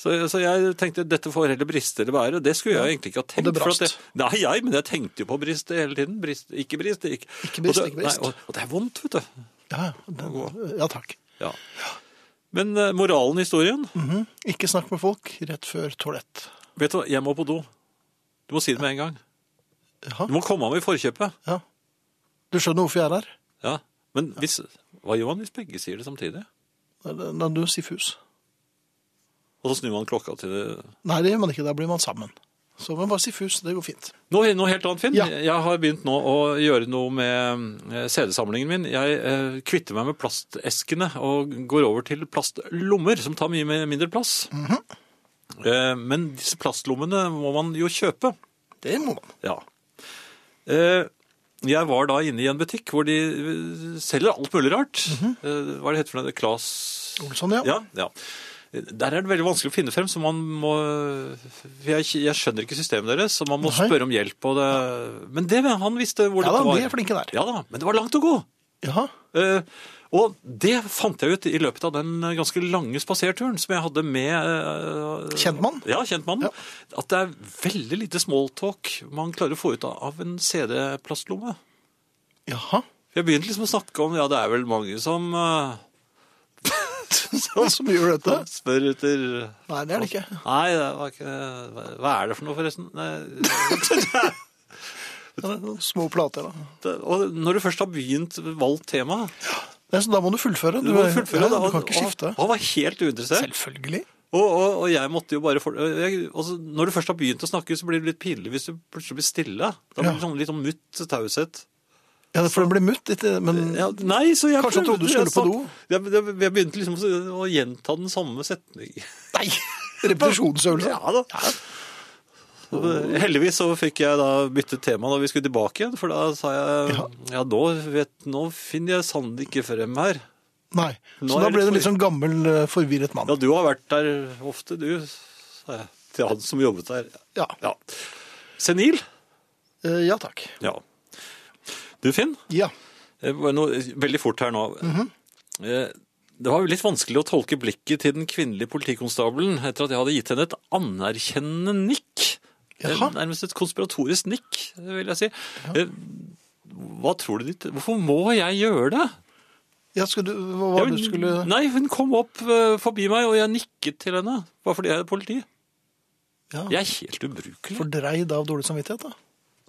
S2: Så, så jeg tenkte dette får heller briste eller være. og Det skulle jeg egentlig ikke ha tenkt.
S1: Og det
S2: for at
S1: brast.
S2: jeg- Nei, jeg, men jeg tenkte jo på brist hele tiden. Brist, ikke brist, ikke,
S1: Ikke brist,
S2: og det,
S1: ikke brist.
S2: Nei, og, og det er vondt, vet du.
S1: Ja, den, ja takk.
S2: Ja. Men eh, moralen i historien
S1: Mhm. Ikke snakk med folk rett før toalett.
S2: Vet du hva, jeg må på do. Du må si det med en gang.
S1: Jaha,
S2: Du må komme av i forkjøpet.
S1: ja. Du skjønner hvorfor jeg er her?
S2: Ja. Men hvis, hva gjør man hvis begge sier det samtidig?
S1: Da er du siffus.
S2: Og så snur man klokka til det
S1: Nei, det gjør man ikke. Da blir man sammen. Så man bare siffus. Det går fint.
S2: Noe, noe helt annet, Finn.
S1: Ja.
S2: Jeg har begynt nå å gjøre noe med eh, CD-samlingen min. Jeg eh, kvitter meg med plasteskene og går over til plastlommer, som tar mye mer- mindre plass. Eh, Men disse plastlommene må man jo kjøpe.
S1: Det må man.
S2: Ja. Eh, Jeg var da inne i en butikk hvor de eh, selger alt mulig rart. Eh, Hva er det heter for noe? Klas...
S1: Olsson, ja.
S2: Ja, ja. Der er det veldig vanskelig å finne frem, så man må for Jeg, jeg skjønner ikke systemet deres, så man må
S1: Nei.
S2: spørre om hjelp. Og det, men det, han visste hvor
S1: Ja da,
S2: dette var.
S1: de er flinke der.
S2: Ja da, men det var langt å gå.
S1: Jaha.
S2: Eh, og det fant jeg ut i løpet av den ganske lange spaserturen som jeg hadde med eh,
S1: Kjentmann?
S2: Ja, kjentmannen.
S1: Ja.
S2: At det er veldig lite smalltalk man klarer å få ut av en CD-plastlomme.
S1: Jaha.
S2: Jeg begynte liksom å snakke om ja, det er vel mange som eh,
S1: Sånn som gjør dette?
S2: spør etter
S1: Nei, det er det ikke.
S2: Nei, det var ikke hva- Hva er det for noe, forresten? Nei.
S1: Det er noen små plater, da.
S2: Det- Og når du først har begynt valgt tema
S1: Nei, så da må du fullføre.
S2: Du må fullføre
S1: ja,
S2: det.
S1: du kan ikke skifte.
S2: Og, og var helt uinteressert.
S1: Selvfølgelig.
S2: Og, og, og jeg måtte jo bare for, jeg, altså, Når du først har begynt å snakke, så blir det litt pinlig hvis du plutselig blir stille. Da blir det sånn litt sånn mutt taushet.
S1: Ja, for den blir mutt, ikke, men
S2: Ja, nei, så jeg
S1: Kanskje han trodde du skulle
S2: jeg
S1: på
S2: snakk-
S1: do?
S2: Jeg, jeg, jeg begynte liksom å, å gjenta den samme setningen.
S1: Nei! Repetisjonsøvelse.
S2: liksom. Ja da. Heldigvis så fikk jeg da byttet tema da vi skulle tilbake igjen, for da sa jeg ja, nå, vet, nå finner jeg sannelig ikke frem her.
S1: Nei.
S2: Nå
S1: Så
S2: er
S1: da
S2: jeg
S1: ble
S2: litt
S1: du litt sånn gammel, eh, forvirret mann.
S2: Ja, du har vært der ofte, du, sa jeg til han som jobbet der.
S1: Ja.
S2: Ja. Senil?
S1: Eh, Ja takk.
S2: Ja. Du, Finn,
S1: Ja.
S2: eh, bare noe, veldig fort her nå.
S1: Mhm.
S2: Eh, Det var jo litt vanskelig å tolke blikket til den kvinnelige politikonstabelen etter at jeg hadde gitt henne et anerkjennende nikk.
S1: Jaha.
S2: Eh, Nærmest et konspiratorisk nikk, vil jeg si. Eh, Hva tror du ditt? Hvorfor må jeg gjøre det?
S1: ja skal du, hva var
S2: Ja, men-
S1: det du skulle
S2: Nei, hun kom opp eh, forbi meg, og jeg nikket til henne. Bare fordi jeg er politi.
S1: ja.
S2: Jeg er helt ubrukelig.
S1: Fordreid av dårlig samvittighet, da?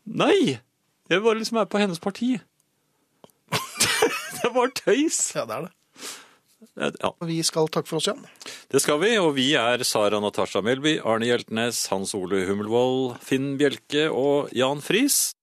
S2: Nei! Jeg bare liksom er på hennes parti. det var tøys.
S1: Ja, det er det.
S2: Eh, Ja.
S1: Vi skal takke for oss, Jan.
S2: Det skal vi, og vi er Sara Natasha Melby, Arne Hjeltnes, Hans Ole Hummelvold, Finn Bjelke og Jan Friis.